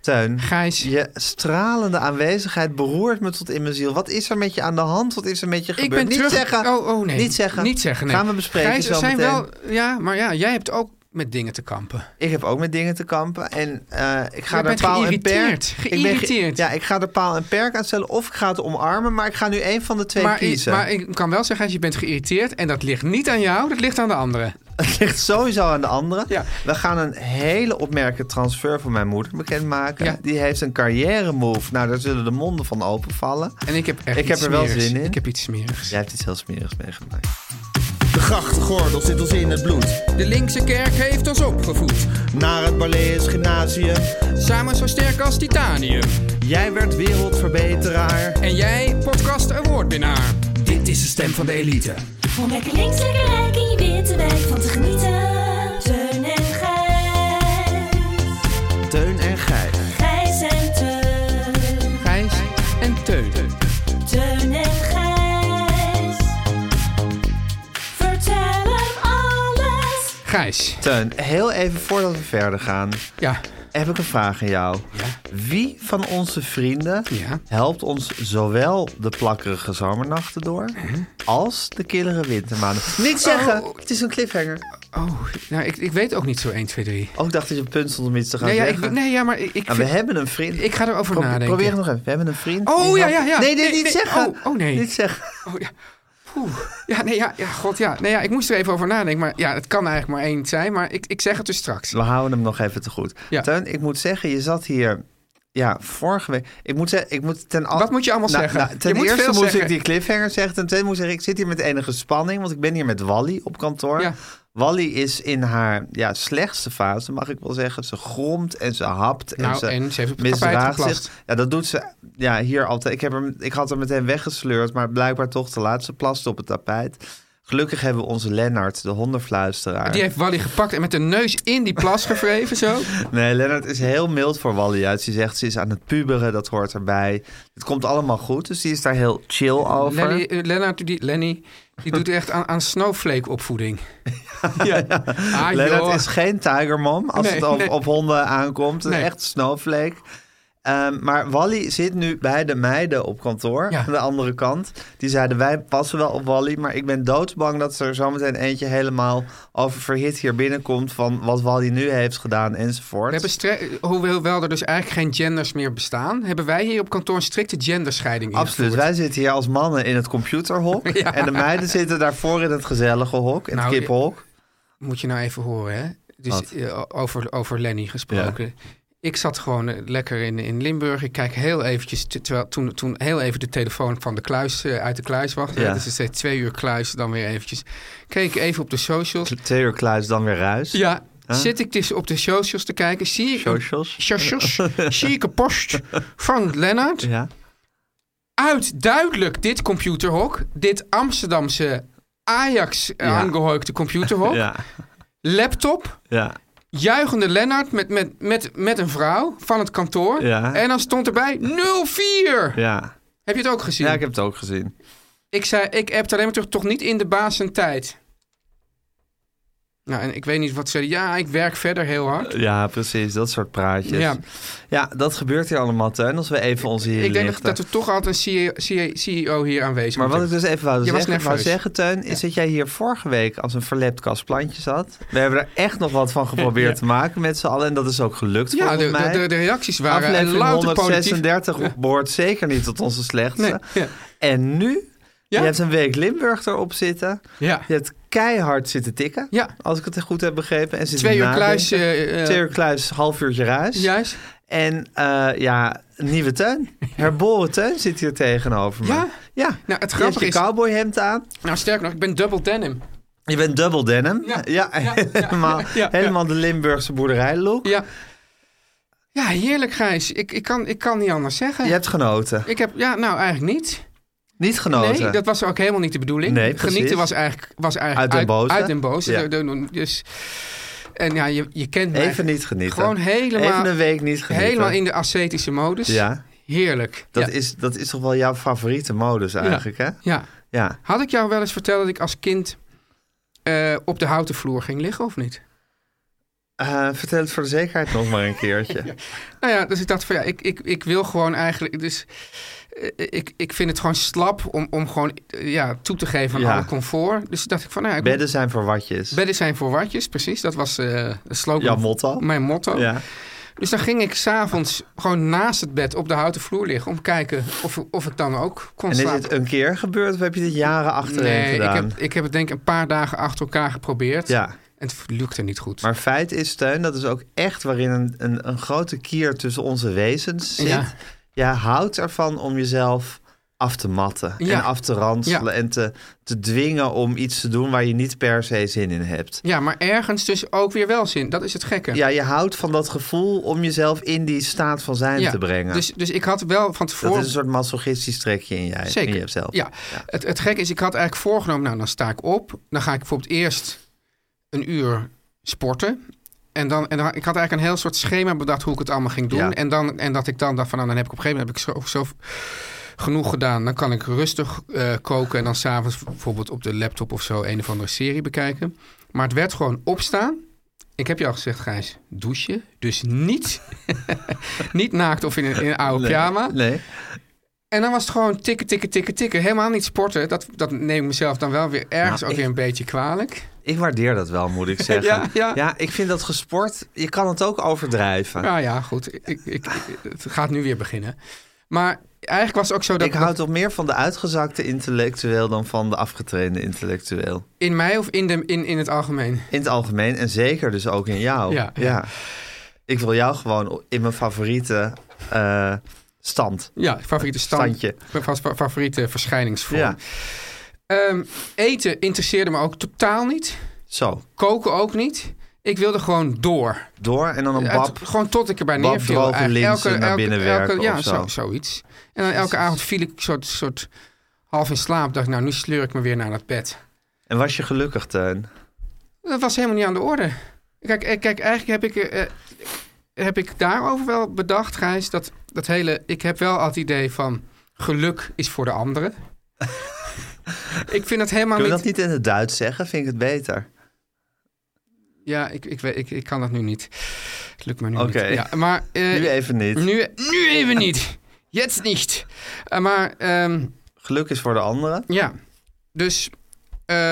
Teun, Gijs. je stralende aanwezigheid beroert me tot in mijn ziel. Wat is er met je aan de hand? Wat is er met je Ik gebeurd? ben niet terug. zeggen. Oh, oh nee. Niet zeggen. Niet zeggen, nee. Gaan we bespreken Gijs, er zo zijn meteen. wel... Ja, maar ja, jij hebt ook met dingen te kampen. Ik heb ook met dingen te kampen. En eh, ik ga Jij er bent paal en perk. geïrriteerd. Ik ben ge- Geïrriteerd. ja, ik ga er paal en perk aan stellen. Of ik ga het omarmen. Maar ik ga nu één van de twee Maar, ik- kiezen. maar ik kan wel zeggen, als je bent geïrriteerd... en dat ligt niet aan jou, dat ligt aan de anderen. Het ligt sowieso aan de andere. Ja. We gaan een hele opmerkelijke transfer van mijn moeder bekendmaken. Ja. Die heeft een carrière move. Nou, daar zullen de monden van openvallen. En ik heb echt Ik iets heb er wel smerigs. zin in. Ik heb iets smerigs. Jij hebt iets heel smerigs meegemaakt. De grachtgordel zit ons in het bloed. De linkse kerk heeft ons opgevoed. Naar het Balees Gymnasium. Samen zo sterk als titanium. Jij werd wereldverbeteraar. En jij, podcast awardwinnaar. Dit is de stem van de elite. Om lekker links, lekker rijk in je witte wijk van te genieten. Teun en Gijs. Teun en Gijs. Gijs en Teun. Gijs en Teun. Teun en Gijs. Vertel hem alles. Gijs. Teun, heel even voordat we verder gaan, Ja. heb ik een vraag aan jou. Wie van onze vrienden Ja. helpt ons zowel de plakkerige zomernachten door als de killere wintermaanden? Niet zeggen, het is een cliffhanger. Oh, nou, ik, ik weet ook niet zo 1, 2, 3. Ook dacht dat je op punt stond om iets te gaan Nee, ja, Nou, zeggen. ik, nee, ja, maar ik... ik Nou, we vind- hebben een vriend. Ik ga erover Pro- nadenken. Probeer het nog even. We hebben een vriend. Oh, die ja, helpt- ja, ja. Nee, nee, Nee, niet nee. zeggen. Oh, oh, nee. Niet zeggen. Oh, ja. Oeh. Ja, nee, ja, ja, god, ja. Nee, ja, ik moest er even over nadenken. Maar ja, het kan eigenlijk maar één zijn. Maar ik, ik zeg het dus straks. We houden hem nog even te goed. Ja. Teun, ik moet zeggen, je zat hier... Ja, vorige week. Ik moet zeggen, ik moet ten al- Nou, Wat moet je allemaal zeggen? ten Je moet eerste veel moest ik zeggen. die cliffhanger zeggen. Ten tweede moest ik zeggen, ik zit hier met enige spanning. Want ik ben hier met Wally op kantoor. Ja. Wally is in haar ja, slechtste fase, mag ik wel zeggen. Ze gromt en ze hapt. En Nou, ze, en ze heeft op het tapijt misdraagt geplast. zich. Ja, dat doet ze ja, hier altijd. Ik, heb hem, ik had hem meteen weggesleurd, maar blijkbaar toch te laat. Ze plaste op het tapijt. Gelukkig hebben we onze Lennart, de hondenfluisteraar. Die heeft Wally gepakt en met de neus in die plas gevreven zo. Nee, Lennart is heel mild voor Wally uit. Ze zegt, ze is aan het puberen, dat hoort erbij. Het komt allemaal goed, dus die is daar heel chill over. Lenny, eh, Lennart, die, Lenny, die doet echt aan, aan snowflake opvoeding. ja. Ah, joh. Lennart is geen tigermom als Nee, het op, nee. op honden aankomt. Een Nee. echt snowflake. Ehm, maar Wally zit nu bij de meiden op kantoor. Ja. Aan de andere kant. Die zeiden, wij passen wel op Wally. Maar ik ben doodsbang dat er zometeen eentje helemaal oververhit hier binnenkomt. Van wat Wally nu heeft gedaan enzovoort. We hebben stre- hoewel wel er dus eigenlijk geen genders meer bestaan, hebben wij hier op kantoor een strikte genderscheiding Absoluut. ingevoerd. Wij zitten hier als mannen in het computerhok. Ja. En de meiden zitten daarvoor in het gezellige hok. In Nou, het kippenhok. Moet je nou even horen, hè? Dus Wat? eh, over, over Lenny gesproken. Ik zat gewoon eh, lekker in, in Limburg. Ik kijk heel eventjes, te- terwijl toen, toen heel even de telefoon van de kluis eh, uit de kluis wachtte. Ja. Dus het zei twee uur kluis, dan weer eventjes. Keek even op de socials. Twee uur kluis, dan weer ruis. Ja, zit ik dus op de socials te kijken. Zie ik een, Socials. socials, zie ik een post van Lennart. Ja. uit duidelijk dit computerhok, dit Amsterdamse Ajax Ja. aangehoikte computerhok, Ja. laptop, Ja. juichende Lennart met, met, met, met een vrouw van het kantoor. Ja. En dan stond erbij 04. Ja. Heb je het ook gezien? Ja, ik ik... heb het ook gezien. zei, ik heb alleen maar terug, toch niet in de baas een tijd. Nou, en ik weet niet wat ze zeiden. Ja, ik werk verder heel hard. Ja, precies. Dat soort praatjes. Ja, Ja. dat gebeurt hier allemaal, Teun. Als we even onze hier ik denk dat, lichten. dat we toch altijd een E CEO, CEO hier aanwezig Maar wat ik moeten dus even wou Je was zeggen, wou nerveus. zeggen, Teun, is dat jij hier vorige week als een verlept kastplantje zat. We hebben er echt nog wat van geprobeerd te maken met z'n allen. En dat is ook gelukt hebben. volgens Ja, mij. de, de, de reacties waren en Aflevering louter positief. 136 behoort zeker niet tot onze slechtste. Nee, ja. En nu? Ja. Je hebt een week Limburg erop zitten. Ja. Je hebt keihard zitten tikken. Ja. Als ik het goed heb begrepen. En zitten Twee uur nadenken. kluis. eh, eh, Twee uur kluis, half uurtje ruis. Juist. En eh, ja, nieuwe teun. Herboren teun zit hier tegenover me. Ja? Ja. Nou, het Je hebt grappige je is... cowboyhemd aan. Nou, sterker nog, ik ben double denim. Je bent dubbel denim. Ja, Ja. helemaal, ja. helemaal de Limburgse boerderijlook. Ja. Ja, heerlijk, Gijs. Ik, ik, kan, ik kan niet anders zeggen. Je hebt genoten. Ik heb... Ja, nou, eigenlijk niet. Niet genoten. Nee, dat was ook helemaal niet de bedoeling. Oh, eh? Nee, precies. Genieten was eigenlijk, was eigenlijk Uit den boze. Uit den boze. Ja. De- de- dus, en ja, je, je kent mij. Even niet genieten. Gewoon helemaal, Even een week niet genieten. helemaal in de ascetische modus. Ja, Heerlijk. dat, ja. Is, dat is toch wel jouw favoriete modus eigenlijk, hè? ja. Ja. Had ik jou wel eens verteld dat ik als kind eh, op de houten vloer ging liggen, of niet? Eh, vertel het voor de zekerheid nog maar een keertje. Nou ja, dus ik dacht van ja, ik, ik, ik wil gewoon eigenlijk. Dus eh, ik, ik vind het gewoon slap om, om gewoon eh, ja, toe te geven aan Ja. alle comfort. Dus dacht ik van nou ja, ik Bedden zijn voor watjes. Bedden zijn voor watjes, precies. Dat was eh de slogan. Jouw motto. Mijn motto. Ja. Dus dan ging ik s'avonds gewoon naast het bed op de houten vloer liggen... om te kijken of, of ik dan ook kon En is slapen. dit een keer gebeurd of heb je dit jaren achtereen Oh, nee, ik gedaan? heb, ik heb het denk ik een paar dagen achter elkaar geprobeerd. Ja, En het lukte niet goed. maar feit is, Steun, dat is ook echt waarin een, een, een grote kier tussen onze wezens zit. Ja. Jij houdt ervan om jezelf af te matten Ja. en af te ranselen Ja. en te, te dwingen om iets te doen waar je niet per se zin in hebt. Ja, maar ergens dus ook weer wel zin. Dat is het gekke. Ja, je houdt van dat gevoel om jezelf in die staat van zijn Ja, te brengen. Dus, dus ik had wel van dat tevoren... is een soort masochistisch trekje in, jij, Zeker. in jezelf. Ja. Het, het gekke is, ik had eigenlijk voorgenomen, nou dan sta ik op. Dan ga ik bijvoorbeeld eerst een uur sporten. En dan, en dan, ik had eigenlijk een heel soort schema bedacht hoe ik het allemaal ging doen. Ja. En, dan, en dat ik dan dacht van, nou dan heb ik op een gegeven moment heb ik zo, zo genoeg gedaan. Dan kan ik rustig eh, koken en dan s'avonds bijvoorbeeld op de laptop of zo een of andere serie bekijken. Maar het werd gewoon opstaan. Ik heb je al gezegd, Gijs, douchen. Dus niet, niet naakt of in een, in een oude pyjama. Nee. En dan was het gewoon tikken, tikken, tikken, tikken. Helemaal niet sporten. Dat, dat neem ik mezelf dan wel weer ergens Nou, ook ik- weer een beetje kwalijk. Ik waardeer dat wel, moet ik zeggen. Ja, ja. ik vind dat gesport, je kan het ook overdrijven. Nou ja, goed. Ik, ik, ik- het gaat nu weer beginnen. Maar eigenlijk was het ook zo dat, ik hou toch meer van de uitgezakte intellectueel dan van de afgetrainde intellectueel. dat in mij of in, de, in, in het algemeen. In het algemeen en zeker dus ook in jou. Ja, ja. Ik wil jou gewoon in mijn favoriete eh, stand. Ja, favoriete stand, Standje. Vast fa- favoriete verschijningsvorm. Ja, Ehm, eten interesseerde me ook totaal niet. zo. Koken ook niet. Ik wilde gewoon door. Door en dan een Uit- bab. gewoon tot ik erbij Bab neerviel. droge eigenlijk. linzen naar binnen werken ja, of zo. zoiets. En dan elke avond viel ik soort, soort half in slaap. Dacht ik, nou, nu sleur ik me weer naar dat bed. En was je gelukkig, Teun? Dat was helemaal niet aan de orde. Kijk, eh, kijk eigenlijk heb ik, eh, eh, heb ik daarover wel bedacht, Gijs. Dat, dat hele, ik heb wel al het idee van geluk is voor de anderen. ik vind dat helemaal Kun je niet... dat niet in het Duits zeggen? Vind ik het beter. Ja, ik, ik, weet- ik, ik kan dat nu niet. Het lukt me nu Oké. niet. Ja, maar, eh, Nu even niet. Nu, nu even niet. Jetzt niet. Eh, maar ehm, Geluk is voor de anderen. ja, dus ehm,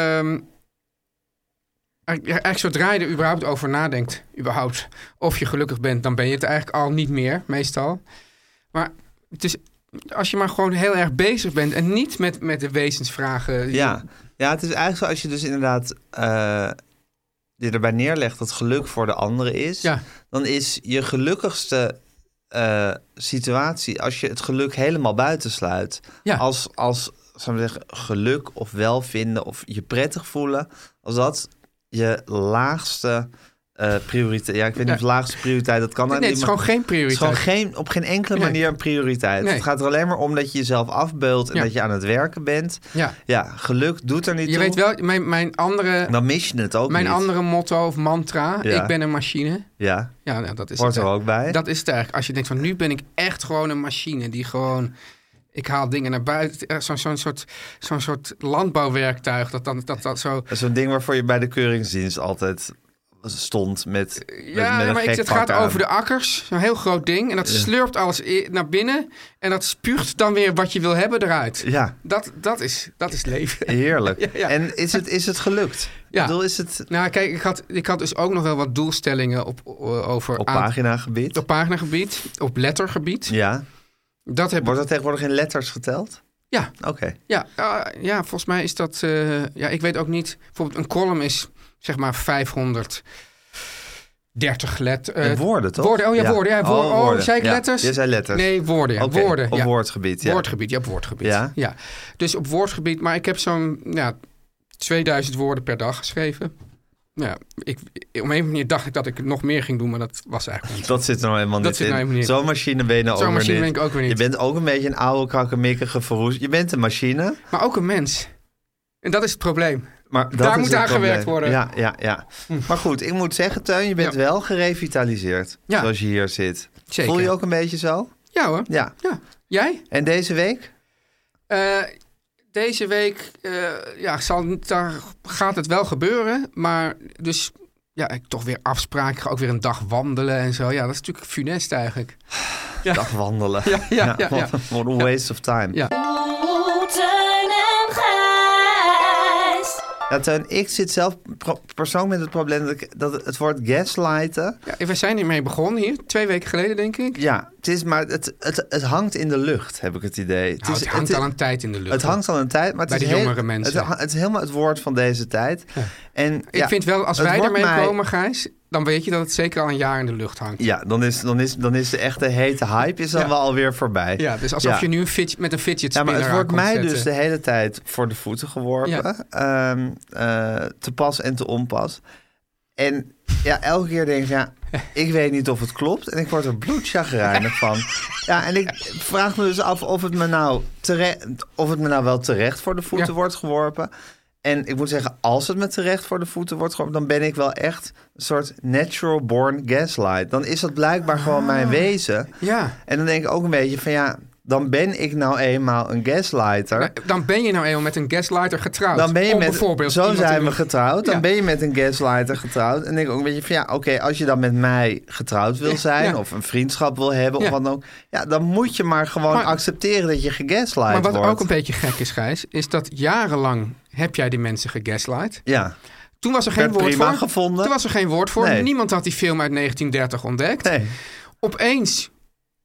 eigenlijk- ja, eigenlijk zodra je er überhaupt over nadenkt, überhaupt, of je gelukkig bent, dan ben je het eigenlijk al niet meer, meestal. Maar het is, als je maar gewoon heel erg bezig bent en niet met, met de wezensvragen. Ja. ja, het is eigenlijk zo als je dus inderdaad eh dit erbij neerlegt dat geluk voor de anderen is. Ja. Dan is je gelukkigste eh, situatie als je het geluk helemaal buitensluit. Ja. Als, als zou ik maar zeggen, geluk of welvinden of je prettig voelen. Als dat je laagste eh, prioriteit... Ja, ik weet niet of Ja. laagste prioriteit dat kan. Nee, het is maar- gewoon geen het is gewoon prioriteit. geen, op geen enkele Nee. manier een prioriteit. Nee. Het gaat er alleen maar om dat je jezelf afbeult en Ja. dat je aan het werken bent. Ja. Ja, geluk doet er niet Je toe. weet wel, mijn, mijn, andere, Dan mis je het ook mijn Nou, niet. andere motto of mantra, Ja. ik ben een machine. Ja, Ja, nou, dat is hoort het, er hè. ook bij. Dat is het eigenlijk. Als je denkt van nu ben ik echt gewoon een machine die gewoon. Ik haal dingen naar buiten. Eh, Zo'n zo'n soort, zo'n soort landbouwwerktuig. Dat dan dat, dat zo. Dat is zo'n ding waarvoor je bij de keuringsdienst altijd stond met, met, Ja, met een maar ik, gek het pak gaat aan. over de akkers. Een heel groot ding. En dat slurpt alles i- naar binnen. En dat spuugt dan weer wat je wil hebben eruit. Ja, Dat, dat, is, dat is leven. heerlijk. Ja, ja. En is het, is het gelukt? Ja. Ik bedoel, is het Nou, kijk, ik had, ik had dus ook nog wel wat doelstellingen op, eh, over op aan- paginagebied? op paginagebied, op lettergebied. Ja. Dat heb Wordt dat tegenwoordig in letters geteld? Ja, Oké. ja, ah, ja, volgens mij is dat. eh, ja, ik weet ook niet. Bijvoorbeeld, een column is zeg maar 530 let, eh, En woorden, toch? Woorden, oh ja, woorden. Ja, woor- oh, zei ik Ja, letters? Je zei letters. Nee, woorden. ja, Oké, woorden Op ja. woordgebied, ja. Woordgebied, ja, op woordgebied. Ja. Ja. Dus op woordgebied, maar ik heb zo'n ja, 2000 woorden per dag geschreven. Ja, ik, op een of andere manier dacht ik dat ik nog meer ging doen, maar dat was eigenlijk niet. Dat zit er nou helemaal Dat niet zit nou in. helemaal niet in. Zo'n machine ben je nou Zo'n ook machine weer niet. ben ik ook weer niet. Je bent ook een beetje een oude, krakkemikkige, verroes. Je bent een machine, Maar ook een mens. En dat is het probleem. maar dat Daar is moet het aan probleem. gewerkt worden. Hm. Ja, ja, ja. Maar goed, ik moet zeggen, Teun, je bent Ja. wel gerevitaliseerd. Ja. Zoals je hier zit. Zeker. Voel je ook een beetje zo? Ja hoor. Ja. Ja. Jij? En deze week? Eh, deze week eh, ja, zal, daar gaat het wel gebeuren. Maar dus ja, ik toch weer afspraken. Ik ga ook weer een dag wandelen en zo. Ja, dat is natuurlijk funest eigenlijk. Ja. Dag wandelen. Ja, ja, ja, ja. What a waste of time. Ja. Oeh, Oh, Teun en Gijs. Ja, Teun, ik zit zelf pro- persoonlijk met het probleem dat, ik, dat het woord gaslighten... Ja, we zijn hiermee begonnen hier, twee weken geleden denk ik. Ja, het, is, maar het, het, het hangt in de lucht, heb ik het idee. Het, Nou, is, het hangt is- al een tijd in de lucht. Het hangt al een tijd, maar het Bij is de heel- jongere mensen. Het, ha- het is helemaal het woord van deze tijd. En, ik vind wel, als wij daarmee ermee komen, Gijs, dan weet je dat het zeker al een jaar in de lucht hangt. Ja, dan is, dan, is, dan is de echte hete hype is dan Ja. wel alweer voorbij. Ja, dus alsof Ja. je nu een fidget, met een fidget Ja, spinner maar het wordt aan komt mij dus zetten. de hele tijd voor de voeten geworpen. Ehm, eh, te pas en te onpas. En ja, elke keer denk ik, ja, ik weet niet of het klopt. En ik word er bloedchagrijnig van. Ja, en ik vraag me dus af of het me nou, tere- of het me nou wel terecht voor de voeten Ja. wordt geworpen. En ik moet zeggen, als het me terecht voor de voeten wordt geworpen... dan ben ik wel echt een soort natural born gaslight. Dan is dat blijkbaar gewoon mijn wezen. Ah. Ja. En dan denk ik ook een beetje van ja, dan ben ik nou eenmaal een gaslighter. Nou, Dan ben je nou eenmaal met een gaslighter getrouwd. dan ben je Om met, bijvoorbeeld zo iemand zijn in- we getrouwd. Dan Ja. ben je met een gaslighter getrouwd. En denk ik ook een beetje van ja, oké, als je dan met mij getrouwd wil zijn ja. of een vriendschap wil hebben Ja. of wat dan ook, ja, dan moet je maar gewoon Maar- accepteren dat je gegaslight Maar wat wordt. ook een beetje gek is, Gijs, is dat jarenlang heb jij die mensen gegaslight. ja, Toen was er geen Werd woord prima voor. gevonden. Toen was er geen woord voor. Nee. Niemand had die film uit 1930 ontdekt. nee. Opeens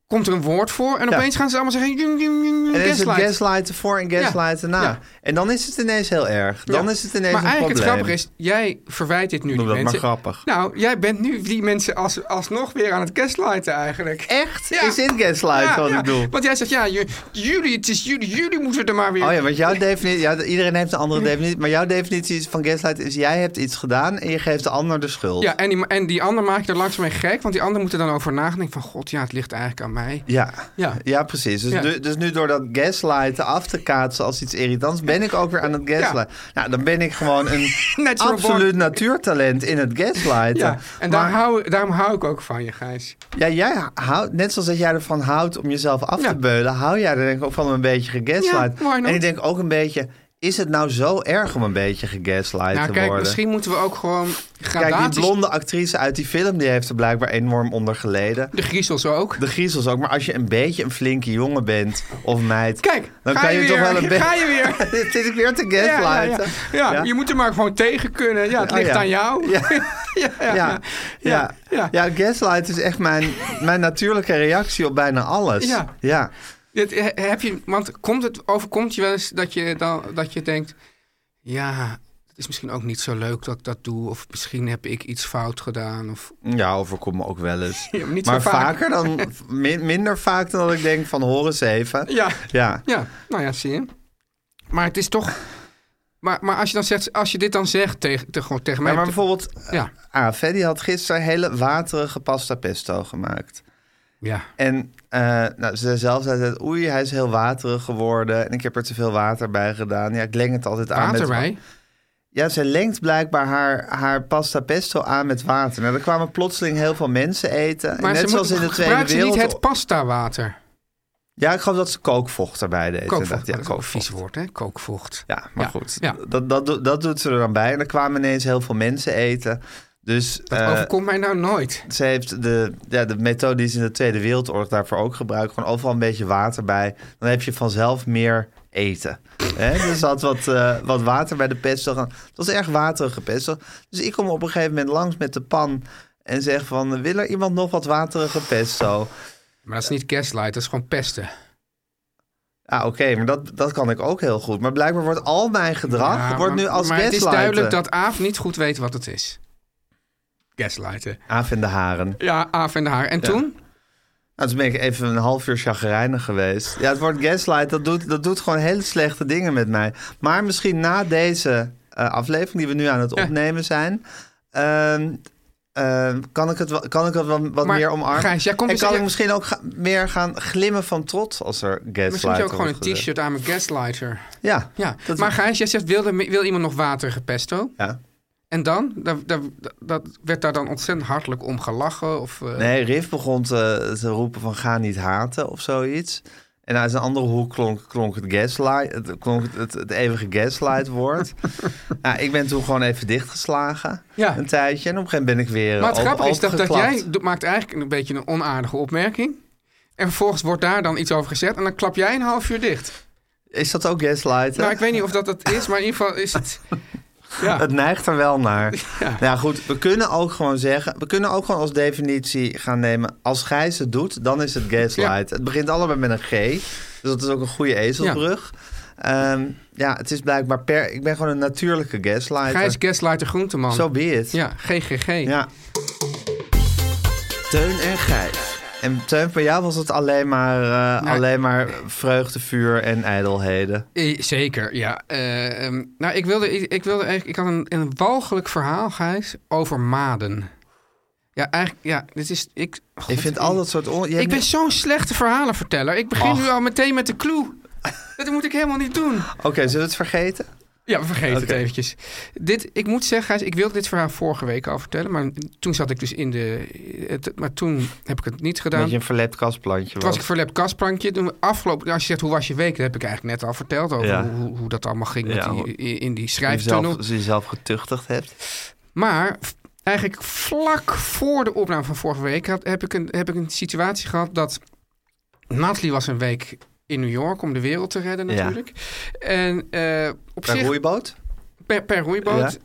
komt er een woord voor en Ja. opeens gaan ze allemaal zeggen... "Jung, jung, jung, En dan is het gaslight." gaslighten voor en Ja. gaslighten na. Ja. En dan is het ineens heel erg. Dan Ja. is het ineens Maar een eigenlijk probleem. het grappige is, jij verwijt dit nu Noem die dat mensen. maar grappig. Nou, jij bent nu die mensen als, alsnog weer aan het gaslighten eigenlijk. Echt? Ja. Is dit gaslight Ja, wat ja. ik doe? Want jij zegt, ja, ju- jullie, het is jullie, jullie moeten er maar weer... Oh ja, want jouw definitie, ja, iedereen heeft een andere definitie, maar jouw definitie is van gaslight is jij hebt iets gedaan en je geeft de ander de schuld. Ja, en die, en die ander maakt er langzaam mee gek, want die ander moet er dan over nadenken van... God, ja, het ligt eigenlijk aan mij. Ja. Ja. Ja, precies. Dus, Ja. Nu, dus nu door dat gaslighten af te kaatsen als iets irritants, ben ik ook weer aan het gaslighten. Nou, dan ben ik gewoon een Natural born. absoluut natuurtalent in het gaslighten. Ja, en daar hou, daarom hou ik ook van je, Gijs. Ja, jij houdt, net zoals dat jij ervan houdt om jezelf af Ja. te beulen, hou jij er denk ik ook van om een beetje gegaslight. Ja, why not? en ik denk ook een beetje, is het nou zo erg om een beetje gegaslight Nou, te kijk, worden? misschien moeten we ook gewoon Kijk, die gradaties... blonde actrice uit die film, die heeft er blijkbaar enorm onder geleden. De griezels ook. De griezels ook, maar als je een beetje een flinke jongen bent of meid... Kijk, dan ga kan je, je, weer, toch wel een beetje... ga je weer. Dit is weer te Ja, ja, gaslighten. ja. Ja, je moet er maar gewoon tegen kunnen. Ja, het Oh, ligt ja. aan jou. Ja. ja, Ja, ja, ja. ja, ja. ja. gaslight is echt mijn, mijn natuurlijke reactie op bijna alles. Ja. ja. Dit, he- heb je, want komt het, overkomt je wel eens dat je, dan, dat je denkt... Ja, het is misschien ook niet zo leuk dat ik dat doe. Of misschien heb ik iets fout gedaan. Of, Ja, overkomt me ook wel eens. Ja, maar niet zo maar vaak. vaker dan, min- minder vaak dan dat ik denk van horen eens even. ja. Ja. ja, nou ja, zie je. Maar het is toch... Maar, maar als, je dan zegt, als je dit dan zegt tegen, te- gewoon tegen mij... Ja, maar bijvoorbeeld, Ja, ah, Freddy had gisteren hele waterige pasta pesto gemaakt. ja. En eh, nou, ze zelf zei altijd, oei, hij is heel waterig geworden. En ik heb er te veel water bij gedaan. Ja, ik leng het altijd aan water met... bij. Ja, ze lengt blijkbaar haar, haar pasta pesto aan met water. Nou, er kwamen plotseling heel veel mensen eten. En Maar net ze zoals moeten, in de Tweede gebruikt ze Wereld... niet het pasta water? Ja, ik geloof dat ze kookvocht erbij deed. inderdaad. Kookvocht, dat is Ja, ook een vies woord, hè? Kookvocht. Ja, maar Ja, goed. ja. Dat, dat, do- dat doet ze er dan bij. En er kwamen ineens heel veel mensen eten. Dus Dat eh, overkomt mij nou nooit. ze heeft de, ja, de methode die ze in de Tweede Wereldoorlog daarvoor ook gebruikt. Gewoon overal een beetje water bij. Dan heb je vanzelf meer eten. Hè? Dus ze had wat, eh, wat water bij de pesto. Het was erg waterige pesto. Dus ik kom op een gegeven moment langs met de pan. En zeg van, wil er iemand nog wat waterige pesto? Maar dat is niet gaslight, dat is gewoon pesten. Ah, oké, maar dat, dat kan ik ook heel goed. Maar blijkbaar wordt al mijn gedrag Ja, wordt Ah, maar- nu als Maar het is gaslighten. duidelijk dat Aaf niet goed weet wat het is. Gaslighten. Aaf in de haren. Ja, Aaf en de haar. En toen? Nou, toen ben ik even een half uur chagrijnig geweest. Ja, het woord gaslight, dat doet, dat doet gewoon hele slechte dingen met mij. Maar misschien na deze eh, aflevering die we nu aan het opnemen zijn... ehm, ehm, kan ik het wel- kan ik het wel wat Maar, meer omarmen? Gijs, jij komt en dus- kan ik jij- misschien ook ga- meer gaan glimmen van trots als er gaslight Misschien moet je ook gewoon wordt een gezegd. t-shirt aan met gaslighter. Ja. Ja, Dat- maar Gijs, jij zegt, wil, er- wil iemand nog waterige pesto? ja. En dan? Dat, dat, dat werd daar dan ontzettend hartelijk om gelachen? Of, eh, Nee, Riff begon te, te roepen van ga niet haten of zoiets. En uit een andere hoek klonk, klonk het gaslight, het, klonk het, het, het eeuwige gaslight woord. nou, ik ben toen gewoon even dichtgeslagen, Ja. een tijdje. En op een gegeven moment ben ik weer Maar het op- grappige is dat, dat opengeklapt. jij do- maakt eigenlijk een beetje een onaardige opmerking. En vervolgens wordt daar dan iets over gezegd. En dan klap jij een half uur dicht. Is dat ook gaslighten? Nou, ik weet niet of dat het is, maar in ieder geval is het... Ja, Het neigt er wel naar. Ja. Nou ja, goed, we kunnen ook gewoon zeggen... We kunnen ook gewoon als definitie gaan nemen... Als Gijs het doet, dan is het gaslight. Het begint allebei met een G. Dus dat is ook een goede ezelbrug. Ja, ja het is blijkbaar per... Ik ben gewoon een natuurlijke gaslighter. Gijs Gaslighter Groenteman. Zo be it. Ja, GGG. Ja. Teun en Gijs. En Teun, voor jou was het alleen maar, eh, Nou, alleen maar vreugde, vuur en ijdelheden. Eh, Zeker, ja. Eh, ehm, nou, ik wilde, ik, ik wilde eigenlijk... Ik had een, een walgelijk verhaal, Gijs, over maden. Ja, eigenlijk... Ja, dit is... Ik, Ik vind al dat soort... On... je hebt Ik ben niet- zo'n slechte verhalenverteller. Ik begin Ach. nu al meteen met de clue. Dat moet ik helemaal niet doen. Oké, zullen we het vergeten? Ja, we vergeten Oké. het eventjes. Dit, ik moet zeggen, Gijs, ik wilde dit verhaal vorige week al vertellen. Maar toen zat ik dus in de... Het, maar toen heb ik het niet gedaan. Dat je een verlept kastplantje Toen was ik verlept kastplankje. Toen we afgelopen, als je zegt, hoe was je week? Dat heb ik eigenlijk net al verteld over Ja. hoe, hoe, hoe dat allemaal ging Ja, met die, in die Die schrijftunnel. zelf- die zelf getuchtigd hebt. Maar f- eigenlijk vlak voor de opname van vorige week had, heb, ik een, heb ik een situatie gehad dat Natalie was een week in New York om de wereld te redden Ja. natuurlijk. En eh, op Per zich roeiboot? per, per roeiboot.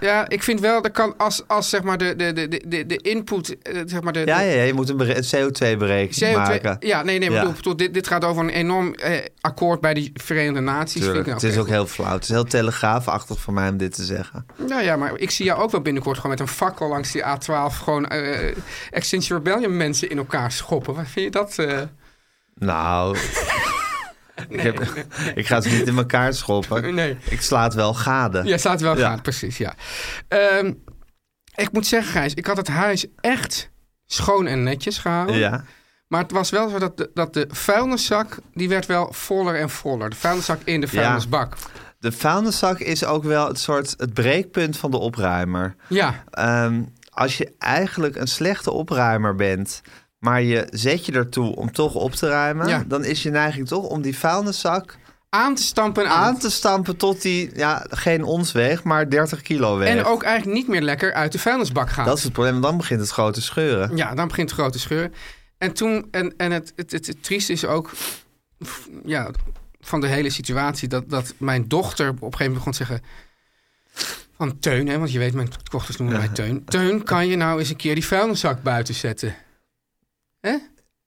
Ja. ik vind wel, dat kan als, als zeg maar de, de, de, de, de input, eh, zeg maar de, Ja, de- ja, ja, je moet een bere- CO2-berekening CO2 maken. Ja, nee, nee, maar Ja. bedoel, bedoel, dit, dit gaat over een enorm eh, akkoord bij de Verenigde Naties. Tuurlijk, Vind het ik is nou, ook heel flauw. Het is heel telegraafachtig van mij om dit te zeggen. Nou ja, maar ik zie jou ook wel binnenkort gewoon met een fakkel langs die A12 gewoon eh Extinction Rebellion mensen in elkaar schoppen. Wat vind je dat? eh? Nou, ik, heb- ik ga ze niet in elkaar schoppen. Nee. Ik sla het wel gade. Ja, staat wel Ja. gaan, precies, ja. Ehm, ik moet zeggen, Gijs, ik had het huis echt schoon en netjes gehouden. Ja. Maar het was wel zo dat de, dat de vuilniszak, die werd wel voller en voller. De vuilniszak in de vuilnisbak. De vuilniszak is ook wel het soort het breekpunt van de opruimer. Ja, Ehm, als je eigenlijk een slechte opruimer bent, maar je zet je ertoe om toch op te ruimen, Ja. dan is je neiging toch om die vuilniszak aan te stampen en aan te stampen tot die, ja, geen ons weegt, maar 30 kilo weegt. En ook eigenlijk niet meer lekker uit de vuilnisbak gaat. Dat is het probleem, want dan begint het grote scheuren. Ja, dan begint de grote scheur. En toen, en, en het, het, het, het trieste is ook f- ja, van de hele situatie dat, dat mijn dochter op een gegeven moment begon te zeggen. Van Teun, hè, want je weet, mijn dochters noemen mij Teun. Teun, kan je nou eens een keer die vuilniszak buiten zetten? Hè?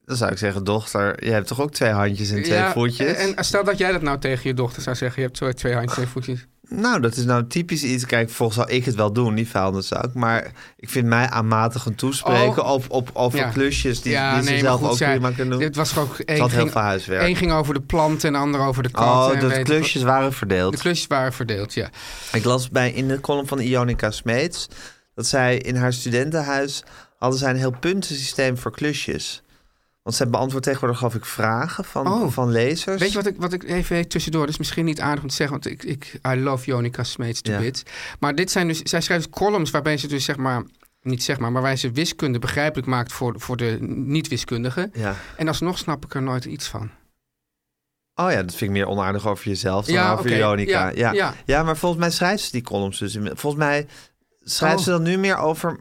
Dan zou ik zeggen, dochter, je hebt toch ook twee handjes en twee Ja, voetjes? En, en stel dat jij dat nou tegen je dochter zou zeggen. Je hebt zo twee handjes, twee voetjes. Nou, dat is nou typisch iets. Kijk, volgens zou ik het wel doen, die vuilniszak. Maar ik vind mij aanmatigend toespreken op, op, over Oh. Ja. klusjes die, ja, die ze nee, maar zelf goed, ook zij- prima kunnen doen. Dit was gewoon... één had heel ging- veel huiswerk. Eén ging over de plant en de ander over de kat. Oh, en weet de ik klusjes waren verdeeld. wat. De klusjes waren verdeeld, ja. Ik las bij in de column van Ionica Smeets dat zij in haar studentenhuis hadden zij een heel puntensysteem voor klusjes. Want zij beantwoordt tegenwoordig, geloof ik, vragen van, Oh. van lezers. Weet je wat ik, wat ik even tussendoor, dat is misschien niet aardig om te zeggen, want ik, ik I love Jonica Smeets to Ja. bits. Maar dit zijn dus, zij schrijft columns waarbij ze dus zeg maar, niet zeg maar, maar waar ze wiskunde begrijpelijk maakt voor, voor de niet-wiskundigen. Ja. En alsnog snap ik er nooit iets van. Oh ja, dat vind ik meer onaardig over jezelf dan Ja, over oké. Veronica. Ja, Ja, ja. ja. maar volgens mij schrijft ze die columns dus. inmiddels- Volgens mij schrijft Oh. ze dan nu meer over...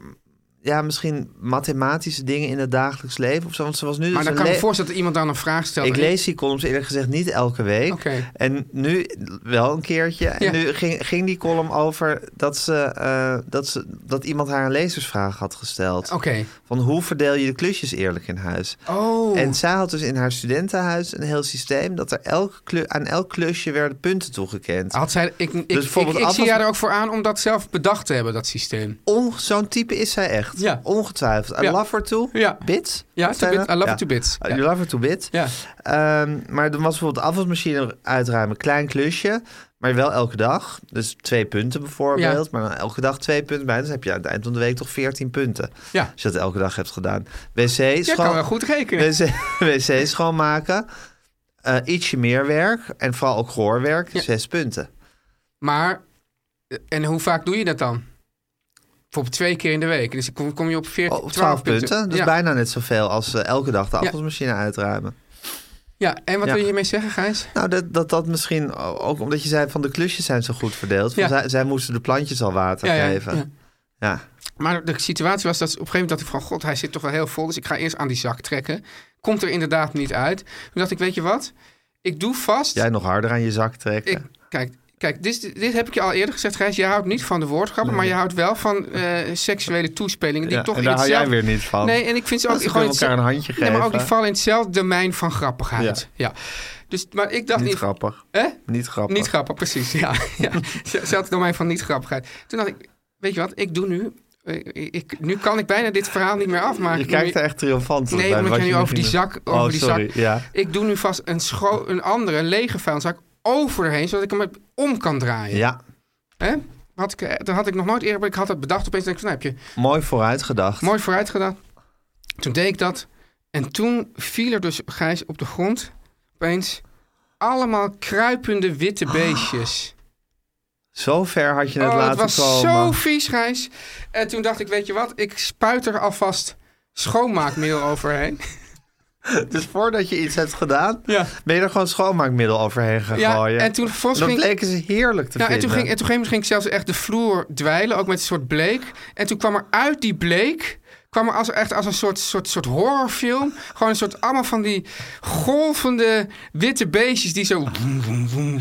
Ja, misschien mathematische dingen in het dagelijks leven of zo. Want ze was nu dus Maar dan een kan ik me le- voorstellen dat iemand dan een vraag stelt. Ik en- lees die columns eerlijk gezegd niet elke week. Oké. En nu wel een keertje. En Ja. nu ging, ging die column over dat, ze, eh, dat, ze, dat iemand haar een lezersvraag had gesteld. Oké. Van hoe verdeel je de klusjes eerlijk in huis? Oh. En zij had dus in haar studentenhuis een heel systeem... dat er elk klu- aan elk klusje werden punten toegekend. Had zij, ik ik, Dus bijvoorbeeld ik, ik zie afwas- jij er ook voor aan om dat zelf bedacht te hebben, dat systeem. Onge- Zo'n type is zij echt. Ja. Ongetwijfeld. I Ja. love her to Ja. bits. Ja, Wat to zei bits. dat? I love her to bits. I Ja. love her to bits. Ja. Ehm, maar dan was bijvoorbeeld de afwasmachine uitruimen. Klein klusje, maar wel elke dag. Dus twee punten bijvoorbeeld. Maar dan elke dag twee punten bij. Dus heb je aan het eind van de week toch veertien punten. Ja. Als je dat elke dag hebt gedaan. Wc, Jij kan wel schoon... goed rekenen. wc, wc schoonmaken. Eh, ietsje meer werk. En vooral ook gehoorwerk. Ja. Zes punten. Maar, eh, en hoe vaak doe je dat dan? Bijvoorbeeld twee keer in de week. Dus kom, kom je op 14, Oh, twaalf punten. Dat is ja. bijna net zoveel als eh, elke dag de Ja. afwasmachine uitruimen. ja, en wat Ja. wil je hiermee zeggen, Gijs? Nou, dat, dat dat misschien ook omdat je zei van de klusjes zijn zo goed verdeeld. Van Ja. zij, zij moesten de plantjes al water Ja, ja, geven. ja. ja. Maar de situatie was dat op een gegeven moment dacht ik van... God, hij zit toch wel heel vol, dus ik ga eerst aan die zak trekken. Komt er inderdaad niet uit. Toen dacht ik, weet je wat? Ik doe vast... Jij nog harder aan je zak trekken. ik, kijk, kijk dit, is- dit heb ik je al eerder gezegd, Gijs. Je houdt niet van de woordgrappen, maar je houdt wel van eh, seksuele toespelingen. Die Ja, toch en daar in hou jij hetzelfde- weer niet van. Nee, en ik vind ze Dat ook ze gewoon... kunnen elkaar hetze- een handje Nee, maar ook geven. die vallen in hetzelfde domein van grappigheid. Ja. Dus, maar ik dacht... niet in- grappig. Hè? Niet grappig. Niet grappig, precies. Ja, ja. Zelfde domein van niet grappigheid. Toen dacht ik, weet je wat, ik doe nu... eh, Ik, nu kan ik bijna dit verhaal niet meer afmaken. Je kijkt Nu- er echt triomfant Nee, bij. omdat wat jij nu je over die ging zak- doen. over oh, die sorry. zak- Ja. Ik doe nu vast een, scho- een andere, een lege vuilniszak overheen, zodat ik hem met- om kan draaien. ja, Hè? Had ik, eh, dat had ik nog nooit eerder, maar ik had dat bedacht opeens. En ik van, nou, heb je mooi vooruitgedacht. mooi vooruit gedaan. Toen deed ik dat. En toen viel er dus, Gijs, op de grond opeens allemaal kruipende witte beestjes. Zo ver had je Ah, het Oh, laten het was komen. zo vies, Gijs. En toen dacht ik, weet je wat? Ik spuit er alvast schoonmaakmiddel overheen. Dus voordat je iets hebt gedaan, Ja. ben je er gewoon schoonmaakmiddel overheen gaan Ja, gooien. en toen vervolgens dat ging- bleken ze heerlijk te Ja, Nou, en vinden. toen ging, en toen ging, ging ik zelfs echt de vloer dweilen, ook met een soort bleek. En toen kwam er uit die bleek, kwam er als, echt als een soort, soort, soort horrorfilm. Gewoon een soort allemaal van die golvende witte beestjes die zo...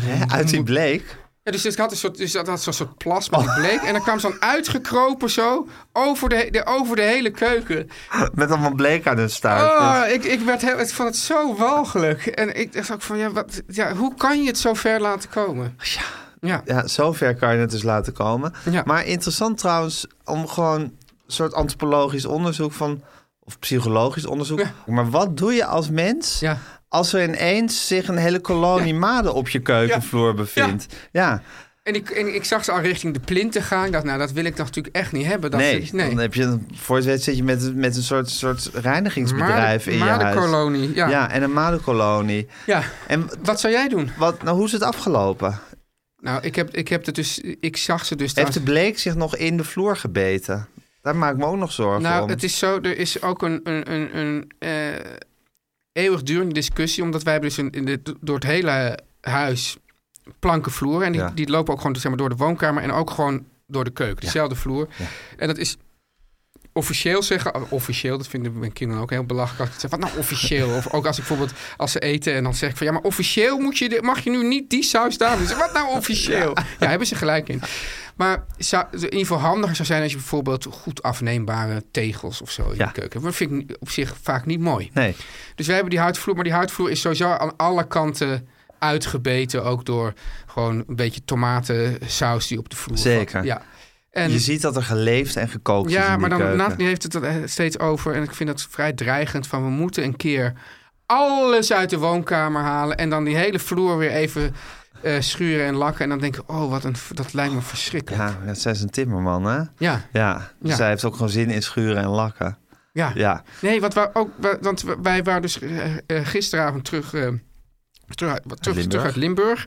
Hè, Uit die bleek. Ja, dus het had een soort, dus dat had zo'n soort plas met die bleek. En dan kwam ze dan uitgekropen zo over de, he- de, over de hele keuken. Met allemaal bleek aan hun staart. Oh, ik, ik, werd heel, ik vond het zo walgelijk. En ik dacht ook van, ja, wat, ja, hoe kan je het zo ver laten komen? Ja. ja, zover kan je het dus laten komen. Ja. Maar interessant trouwens om gewoon een soort antropologisch onderzoek van of psychologisch onderzoek. Ja. Maar wat doe je als mens Ja. als er ineens zich een hele kolonie maden op je keukenvloer bevindt? Ja, En, ik, en ik zag ze al richting de plinten gaan. Ik dacht, nou, dat wil ik toch natuurlijk echt niet hebben. Dat nee. ze- nee. Dan heb je voor je het weet zit je met, met een soort, soort reinigingsbedrijf Maden- in je huis. madenkolonie, ja. ja, en een madenkolonie. Ja, En wat zou jij doen? wat, nou, hoe is het afgelopen? Nou, ik, heb, ik, heb het dus, ik zag ze dus Heeft trouwens- de bleek zich nog in de vloer gebeten? Daar maak ik me ook nog zorgen Nou, om. het is zo, er is ook een, een, een, een eh, eeuwigdurende discussie, omdat wij hebben dus een, in de, door het hele huis planken vloer. En die, Ja. die lopen ook gewoon zeg maar, door de woonkamer en ook gewoon door de keuken, dezelfde vloer. En dat is officieel zeggen, oh, officieel, dat vinden mijn kinderen ook heel belachelijk als ik zeg, wat nou officieel? Of ook als ik bijvoorbeeld, als ze eten en dan zeg ik van, ja, maar officieel moet je, dit- mag je nu niet die saus daar doen. Ze, Wat nou officieel? Ja, hebben ze gelijk in. Maar zou, in ieder geval handiger zou zijn als je bijvoorbeeld goed afneembare tegels of zo in Ja. de keuken. hebt. Maar dat vind ik op zich vaak niet mooi. Nee. Dus wij hebben die houtvloer, maar die houtvloer is sowieso aan alle kanten uitgebeten. Ook door gewoon een beetje tomatensaus die op de vloer Zeker. valt. Ja. En, je ziet dat er geleefd en gekookt is in ja, die maar dan keuken. Nat heeft het er eh, steeds over. En ik vind dat vrij dreigend. Van we moeten een keer alles uit de woonkamer halen. En dan die hele vloer weer even eh, schuren en lakken. En dan denk ik, oh, wat een, dat lijkt me verschrikkelijk. Ja, dat zij is een timmerman, hè? Ja, Ja, dus Ja. zij heeft ook gewoon zin in schuren en lakken. ja. Ja, Nee, want, we ook, we- want we- wij waren dus eh, eh, gisteravond terug, eh, terug, uit- terug, Limburg. terug uit Limburg.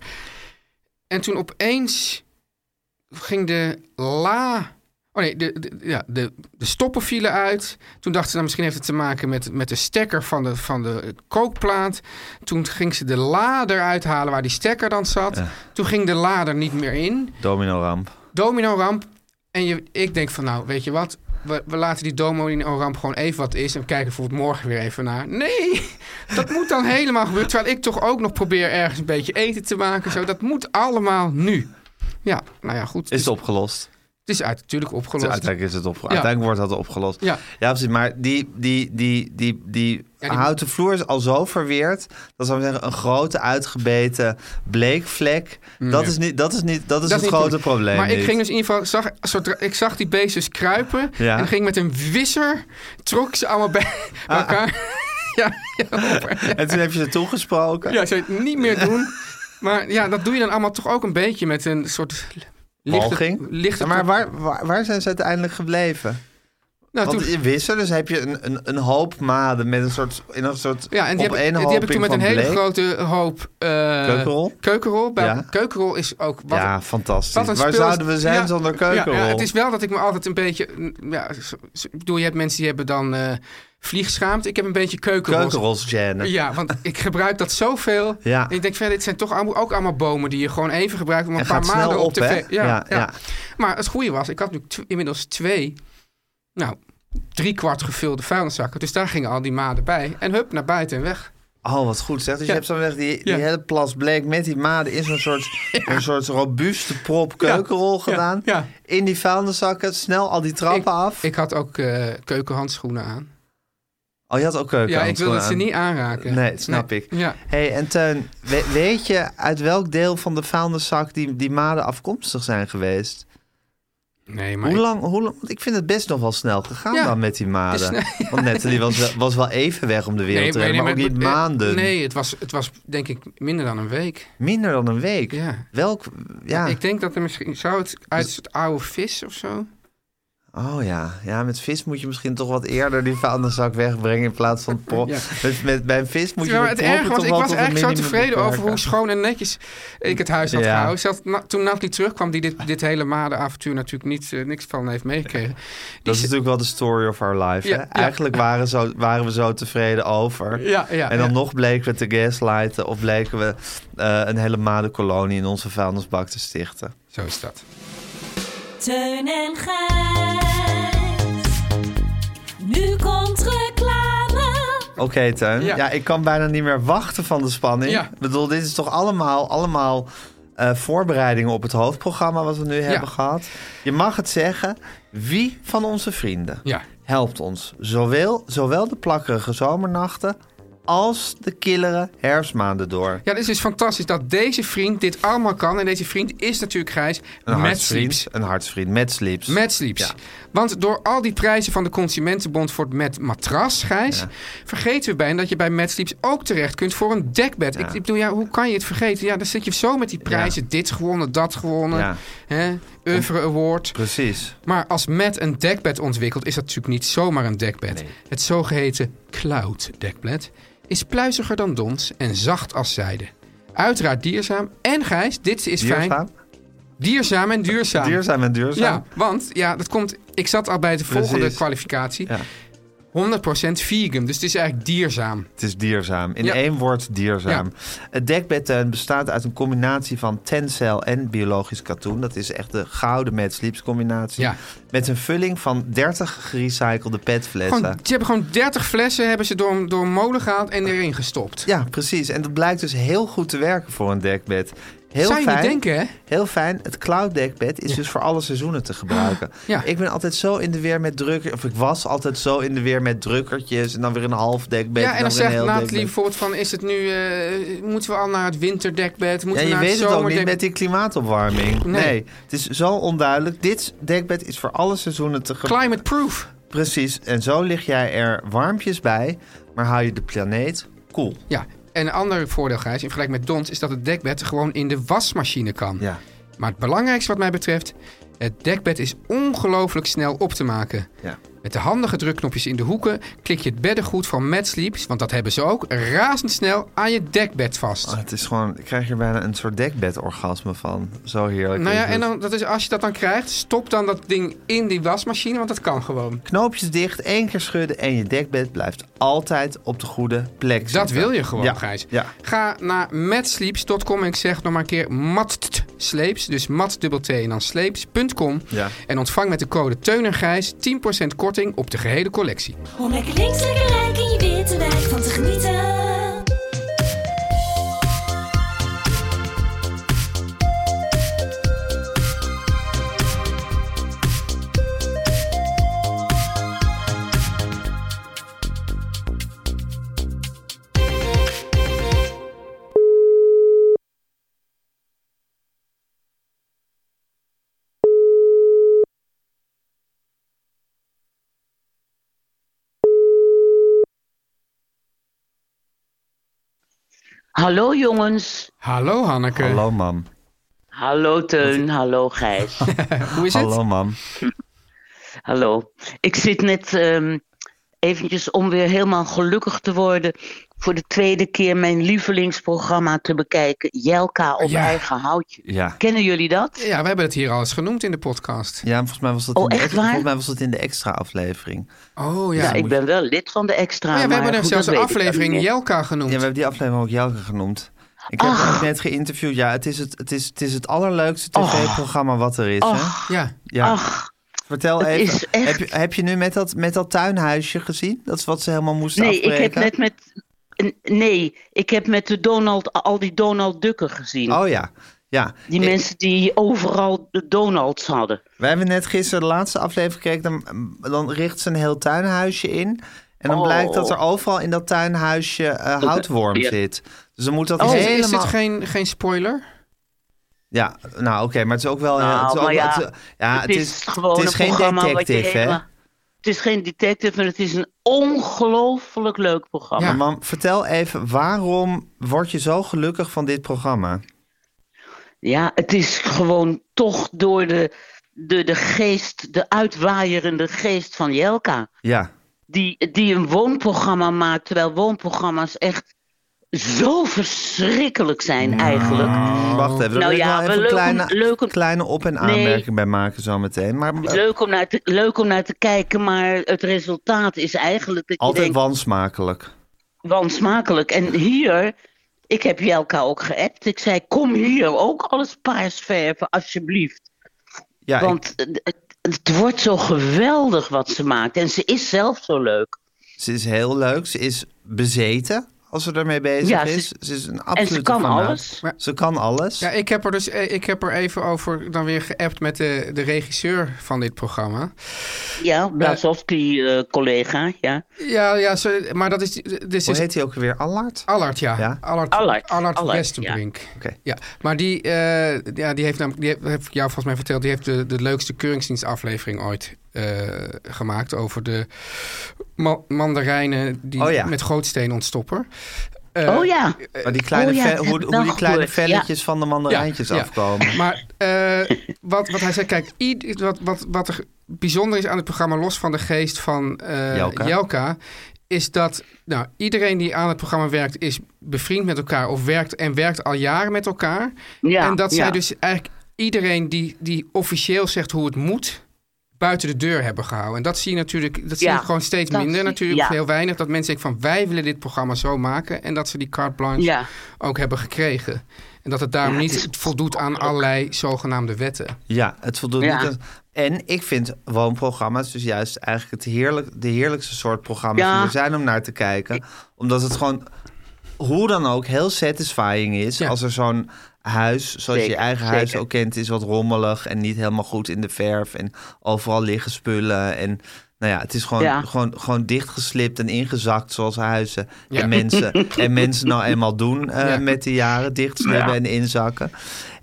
En toen opeens ging de la Oh nee, de, de- ja, de, de stoppen vielen uit. Toen dachten ze, nou, misschien heeft het te maken met, met de stekker van de, van de kookplaat. Toen ging ze de lader uithalen waar die stekker dan zat. Toen ging de lader niet meer in. Domino ramp. Domino-ramp. En je, ik denk van, nou, weet je wat? We, we laten die domino-ramp gewoon even wat is. En we kijken bijvoorbeeld morgen weer even naar. Nee, dat moet dan helemaal gebeuren. Terwijl ik toch ook nog probeer ergens een beetje eten te maken. Zo, dat moet allemaal nu. Ja, nou ja, goed. Is het, het opgelost? is uit, natuurlijk opgelost. Uiteindelijk, is het opge- Uiteindelijk wordt dat opgelost. Ja. precies. Maar die, die, die, die, die, die- houten vloer is al zo verweerd. Dat zou ik zeggen, een grote uitgebeten bleekvlek. Dat, is niet, dat is niet dat is het Dat is niet grote goed. probleem. Maar ik niet. ging dus in ieder geval, zag, zodra, ik zag die beestjes kruipen. Ja. Ah. En ging met een wisser, trok ze allemaal bij elkaar. Ja, ja, op. Ja. En toen heb je ze toegesproken. dus- Ja, zou je het niet meer doen. Maar ja, dat doe je dan allemaal toch ook een beetje met een soort lichte... Walging. lichte maar waar, waar, waar zijn ze uiteindelijk gebleven? nou, Want toen- in Wissel dus heb je een, een, een hoop maden met een soort, in een soort ja, en die heb, ik- die heb ik toen met opeenhoping een hele van bleek. grote hoop... eh, Keukenrol? Keukenrol. Bij, Ja. Keukenrol is ook... Wat, Ja, fantastisch. wat een Waar spul is- zouden we zijn Ja, zonder ja, keukenrol? Ja, het is wel dat ik me altijd een beetje... mm, Ja, zo- zo- ik bedoel, je hebt mensen die hebben dan eh vliegschaamd. Ik heb een beetje keukenrol. Keukenrols, Janet. Ja, want ik gebruik dat zoveel. Ja. En ik denk, van, ja, dit zijn toch allemaal- ook allemaal bomen die je gewoon even gebruikt om een En paar gaat snel maanden op, op te hè? ve- Ja, Ja, ja, ja. Maar het goede was, ik had nu tw- inmiddels twee, nou, drie kwart gevulde vuilniszakken. Dus daar gingen al die maden bij. En hup, naar buiten en weg. Oh, wat goed zeg. Dus je Ja. hebt zo'n weg die, die Ja. hele plas bleek met die maden in zo'n soort, een soort robuuste prop keukenrol Ja, gedaan. ja. In die vuilniszakken, snel al die trappen ik, af. Ik had ook eh, keukenhandschoenen aan. oh, je had ook Ja, keukenrols ik wilde ze niet aanraken. Nee, snap ik. Ja. hey, en Teun, we- weet je uit welk deel van de vuilniszak die, die maden afkomstig zijn geweest? Nee, maar Hoe ik- lang, hoe lang? Want ik vind het best nog wel snel gegaan Ja, dan met die maden. het Want Natalie was, wel- was wel even weg om de wereld te redden, maar, ook niet eh, maanden. Nee, het was, het was denk ik minder dan een week. Minder dan een week. Ja. Welk, ja. Dus- Ik denk dat er misschien... Zou het uit het oude vis of zo? Oh ja. ja, met vis moet je misschien toch wat eerder die vuilniszak wegbrengen in plaats van prop. Ja. Met, met, bij een vis moet je Ja, maar de het proppen erg was, toch ik wel was tot een eigenlijk zo minimum tevreden over beperken. hoe schoon en netjes ik het huis had Ja. gehouden. Zelfs na- toen Natalie terugkwam, die dit, dit hele madenavontuur natuurlijk niet, eh, niks van heeft meegekregen. Dat is ze- natuurlijk wel de story of our life. Ja, hè? ja. Eigenlijk waren, zo, waren we zo tevreden over. Ja, ja, en dan ja. nog bleken we te gaslighten of bleken we eh, een hele madenkolonie in onze vuilnisbak te stichten. Zo is dat. Teun en Gijs. Nu komt reclame. Oké, Teun. Ja. Ja. ik kan bijna niet meer wachten van de spanning. Ja. Ik bedoel, dit is toch allemaal, allemaal eh, voorbereidingen op het hoofdprogramma wat we nu hebben gehad. Je mag het zeggen. Wie van onze vrienden Ja. helpt ons zowel, zowel de plakkerige zomernachten als de killere herfstmaanden door? Ja, dus het is fantastisch dat deze vriend dit allemaal kan. En deze vriend is natuurlijk Gijs Een met hartsvriend. Sleeps. Een hartsvriend met sleeps. Met Sleeps. Want door al die prijzen van de Consumentenbond voor het Met Matras, Gijs, vergeten we bijna dat je bij Met Sleeps ook terecht kunt voor een dekbed. Ik, ik bedoel, ja, hoe kan je het vergeten? Ja, dan zit je zo met die prijzen. Dit gewonnen, dat gewonnen. Ja. Hè? Oeuvre Award. Precies. Maar als Matt een dekbed ontwikkelt, is dat natuurlijk niet zomaar een dekbed. Het zogeheten cloud dekbed is pluiziger dan dons en zacht als zijde. Uiteraard dierzaam en Gijs, dit is fijn. Duurzaam. Dierzaam en duurzaam. Duurzaam en duurzaam. Ja, want ja, dat komt. Ik zat al bij de volgende Precies. kwalificatie. Ja. 100% vegan, dus het is eigenlijk dierzaam. Het is dierzaam. In Ja. één woord dierzaam. Het dekbedtuin bestaat uit een combinatie van tencel en biologisch katoen. Dat is echt de gouden met sleeps combinatie. Ja. Met een vulling van 30 gerecyclede petflessen. Gewoon, ze hebben gewoon 30 flessen hebben ze door, door een molen gehaald en erin gestopt. Ja, precies. En dat blijkt dus heel goed te werken voor een dekbed. Heel Zou je niet fijn. denken, hè? Heel fijn. Het cloud dekbed is dus voor alle seizoenen te gebruiken. Ah, Ja. Ik ben altijd zo in de weer met drukker, of ik was altijd zo in de weer met drukkertjes en dan weer een half dekbed. Ja, en dan weer een zegt heel Nathalie dekbed. bijvoorbeeld van... is het nu... eh, moeten we al naar het winterdekbed? Ja, Moeten we je naar weet het het ook niet met zomerdekbed? die klimaatopwarming. Nee. Nee. het is zo onduidelijk. Dit dekbed is voor alle seizoenen te gebruiken. Climate proof. Precies, en zo lig jij er warmpjes bij, maar hou je de planeet koel. Ja, en een ander voordeel, Gijs, in vergelijking met Dons... is dat het dekbed gewoon in de wasmachine kan. Ja. Maar het belangrijkste wat mij betreft... het dekbed is ongelooflijk snel op te maken. Ja. Met de handige drukknopjes in de hoeken klik je het beddengoed van Mad Sleeps, want dat hebben ze ook, razendsnel aan je dekbed vast. Ah, het is gewoon, ik krijg hier bijna een soort dekbedorgasme van. Zo heerlijk. nou is ja, het. en dan, dat is, als je dat dan krijgt, stop dan dat ding in die wasmachine, want dat kan gewoon. Knoopjes dicht, één keer schudden en je dekbed blijft altijd op de goede plek Dat zitten. wil je gewoon, Ja, Gijs. ja. Ga naar matsleeps.com en ik zeg nog maar een keer matsleeps, dus mat dubbel t en dan sleeps.com. Ja. En ontvang met de code Teun en Gijs 10% korting op de gehele collectie. Om lekker links, lekker rijk in je witte wijk van te genieten. Hallo jongens. Hallo Hanneke. Hallo mam. Hallo Teun, hallo Gijs. Hoe is het? Hallo mam. hallo. Ik zit net ehm, eventjes om weer helemaal gelukkig te worden... voor de tweede keer mijn lievelingsprogramma te bekijken. Jelka op Ja. eigen houtje. Ja. Kennen jullie dat? Ja, we hebben het hier al eens genoemd in de podcast. Ja, volgens mij was dat, Oh, in, de echt ex- waar? Volgens mij was dat in de extra aflevering. Oh ja. Ja, ik ben wel lid van de extra. Oh ja, we maar hebben er goed, zelfs dat een weet ik dan aflevering niet meer. Jelka Ja, genoemd. we hebben die aflevering ook Jelke genoemd. Ik Ah. heb haar ook net geïnterviewd. Ja, het is het, het, is, het, is het allerleukste tv-programma wat er is. Hè? Ja. Ja. Oh. Ach, Vertel het even, is echt- heb, je, heb je nu met dat, met dat tuinhuisje gezien? Dat is wat ze helemaal moesten nee, ik afspreken? heb net met... n- Nee, ik heb met de Donald, al die Donald Dukken gezien. Oh ja, ja. die Ik- mensen die overal de Donalds hadden. Wij hebben net gisteren de laatste aflevering gekeken. Dan, dan richt ze een heel tuinhuisje in. En dan Oh. blijkt dat er overal in dat tuinhuisje eh, houtworm Ja. Oh, zit. Dus dan moet dat Is, helemaal... is dit geen, geen spoiler? Ja, nou oké, maar het is ook wel... Nou, het is ook maar wel- ja, Ah, het is- ja, het is, gewoon het is een geen programma wat je detective, hè? helemaal- Het is geen detective en het is een ongelooflijk leuk programma. Maar mam, vertel even, waarom word je zo gelukkig van dit programma? Ja, het is gewoon toch door de, de, de geest, de uitwaaierende geest van Jelka. Ja, Die, die een woonprogramma maakt, terwijl woonprogramma's echt zo verschrikkelijk zijn eigenlijk. Mm, wacht even. Daar Nou wil ik ja, wel even leuk een om- kleine, leuk om- kleine op- en Nee. aanmerking bij maken zo meteen. Maar eh, Leuk om, naar te, leuk om naar te kijken, maar het resultaat is eigenlijk dat je altijd denkt, wansmakelijk. wansmakelijk. En hier, ik heb Jelka ook geappt. Ik zei, kom hier ook alles paars verven, alsjeblieft. Ja, ik- Want het, het- het wordt zo geweldig wat ze maakt. En ze is zelf zo leuk. Ze is heel leuk. Ze is bezeten als ze ermee bezig Ja, ze- is. Ze is een En absolute ze kan fanaat. alles. Maar- Ze kan alles. Ja, ik heb er dus eh, ik heb er even over dan weer geappt met de, de regisseur van dit programma. Ja, Blazowski-collega, ja. Ja, ja ze- maar dat is. Dit Hoe is heet hij ook weer? Allard? Allard, ja. Ja? Allard, Allard, Allard Allard, Westerbrink. Ja. Oké. maar die, eh, ja, die heeft namelijk, die heb, heb ik jou volgens mij verteld, die heeft de, de leukste keuringsdienstaflevering ooit eh, gemaakt over de ma- mandarijnen die Oh ja. met gootsteen ontstoppen. Eh, oh ja, Maar die kleine Oh ja, ve- dat heb hoe, ik hoe wel die kleine gehoord. velletjes van de mandarijntjes Ja, ja. afkomen. Maar eh, wat, wat hij zei, kijk, ied- wat, wat, wat er bijzonder is aan het programma, los van de geest van eh, Jelka. Jelka. is dat nou, iedereen die aan het programma werkt, is bevriend met elkaar of werkt en werkt al jaren met elkaar. Ja, en dat ja. zij dus eigenlijk iedereen die, die officieel zegt hoe het moet. Buiten de deur hebben gehouden. En dat zie je natuurlijk, dat zie Ja, je gewoon steeds dat minder zie- natuurlijk, of ja. heel weinig. Dat mensen denken van wij willen dit programma zo maken. En dat ze die carte blanche ja. ook hebben gekregen. En dat het daarom Ja, het niet is voldoet aan allerlei zogenaamde wetten. Ja, het voldoet Ja. niet aan... En ik vind woonprogramma's dus juist eigenlijk het heerlijk, de heerlijkste soort programma's Ja. die er zijn om naar te kijken. Omdat het gewoon, hoe dan ook, heel satisfying is. Ja. Als er zo'n huis, zoals je Zeker, eigen huis zeker. ook kent, is wat rommelig en niet helemaal goed in de verf. En overal liggen spullen en... Nou ja, het is gewoon, Ja. gewoon, gewoon dichtgeslipt en ingezakt zoals huizen Ja. en mensen en mensen nou eenmaal doen eh, Ja. met de jaren. Dichtslippen en inzakken.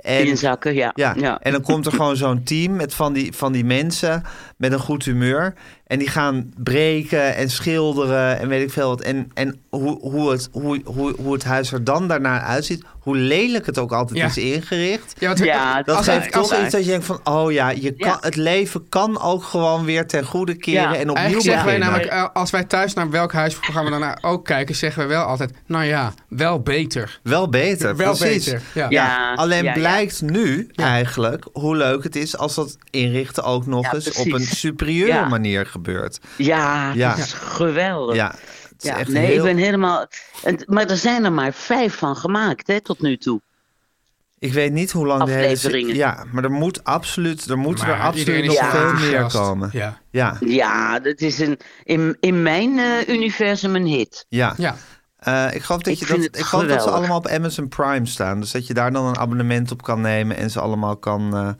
En, inzakken, ja. ja, ja. en dan komt er gewoon zo'n team met van die, van die mensen met een goed humeur. En die gaan breken en schilderen en weet ik veel wat. En, en hoe, hoe, het, hoe, hoe, hoe het huis er dan daarna uitziet. Hoe lelijk het ook altijd Ja. is ingericht. Ja, wat- Ja, Dat Als geeft hij- toch als hij- iets dat je denkt van... Oh ja, je Ja. Kan, het leven kan ook gewoon weer ten goede keren Ja. en opnieuw Eigenlijk zeggen wij beginnen. namelijk, eh, als wij thuis naar welk huisprogramma dan nou ook kijken, zeggen wij wel altijd, nou ja, wel beter. Wel beter, Wel precies. beter, ja. Ja, Alleen ja, ja. blijkt nu eigenlijk hoe leuk het is als dat inrichten ook nog Ja, eens op een precies. superieure Ja. manier gebeurt. Ja, Ja. dat is geweldig. Ja, het is Ja, echt nee, heel... ik ben helemaal. en- maar er zijn er maar vijf van gemaakt, hè, tot nu toe. Ik weet niet hoe lang de hele... se- Afleveringen. Ja, maar er moet absoluut, er moet er Maar absoluut iedereen is nog Ja. veel meer enthousiast. komen. Ja. ja. Ja, dat is een, in, in mijn eh, universum een hit. ja. Ja. Eh, ik geloof, dat, Ik je vind dat, het ik geloof dat ze geweldig. allemaal op Amazon Prime staan. Dus dat je daar dan een abonnement op kan nemen en ze allemaal kan, eh,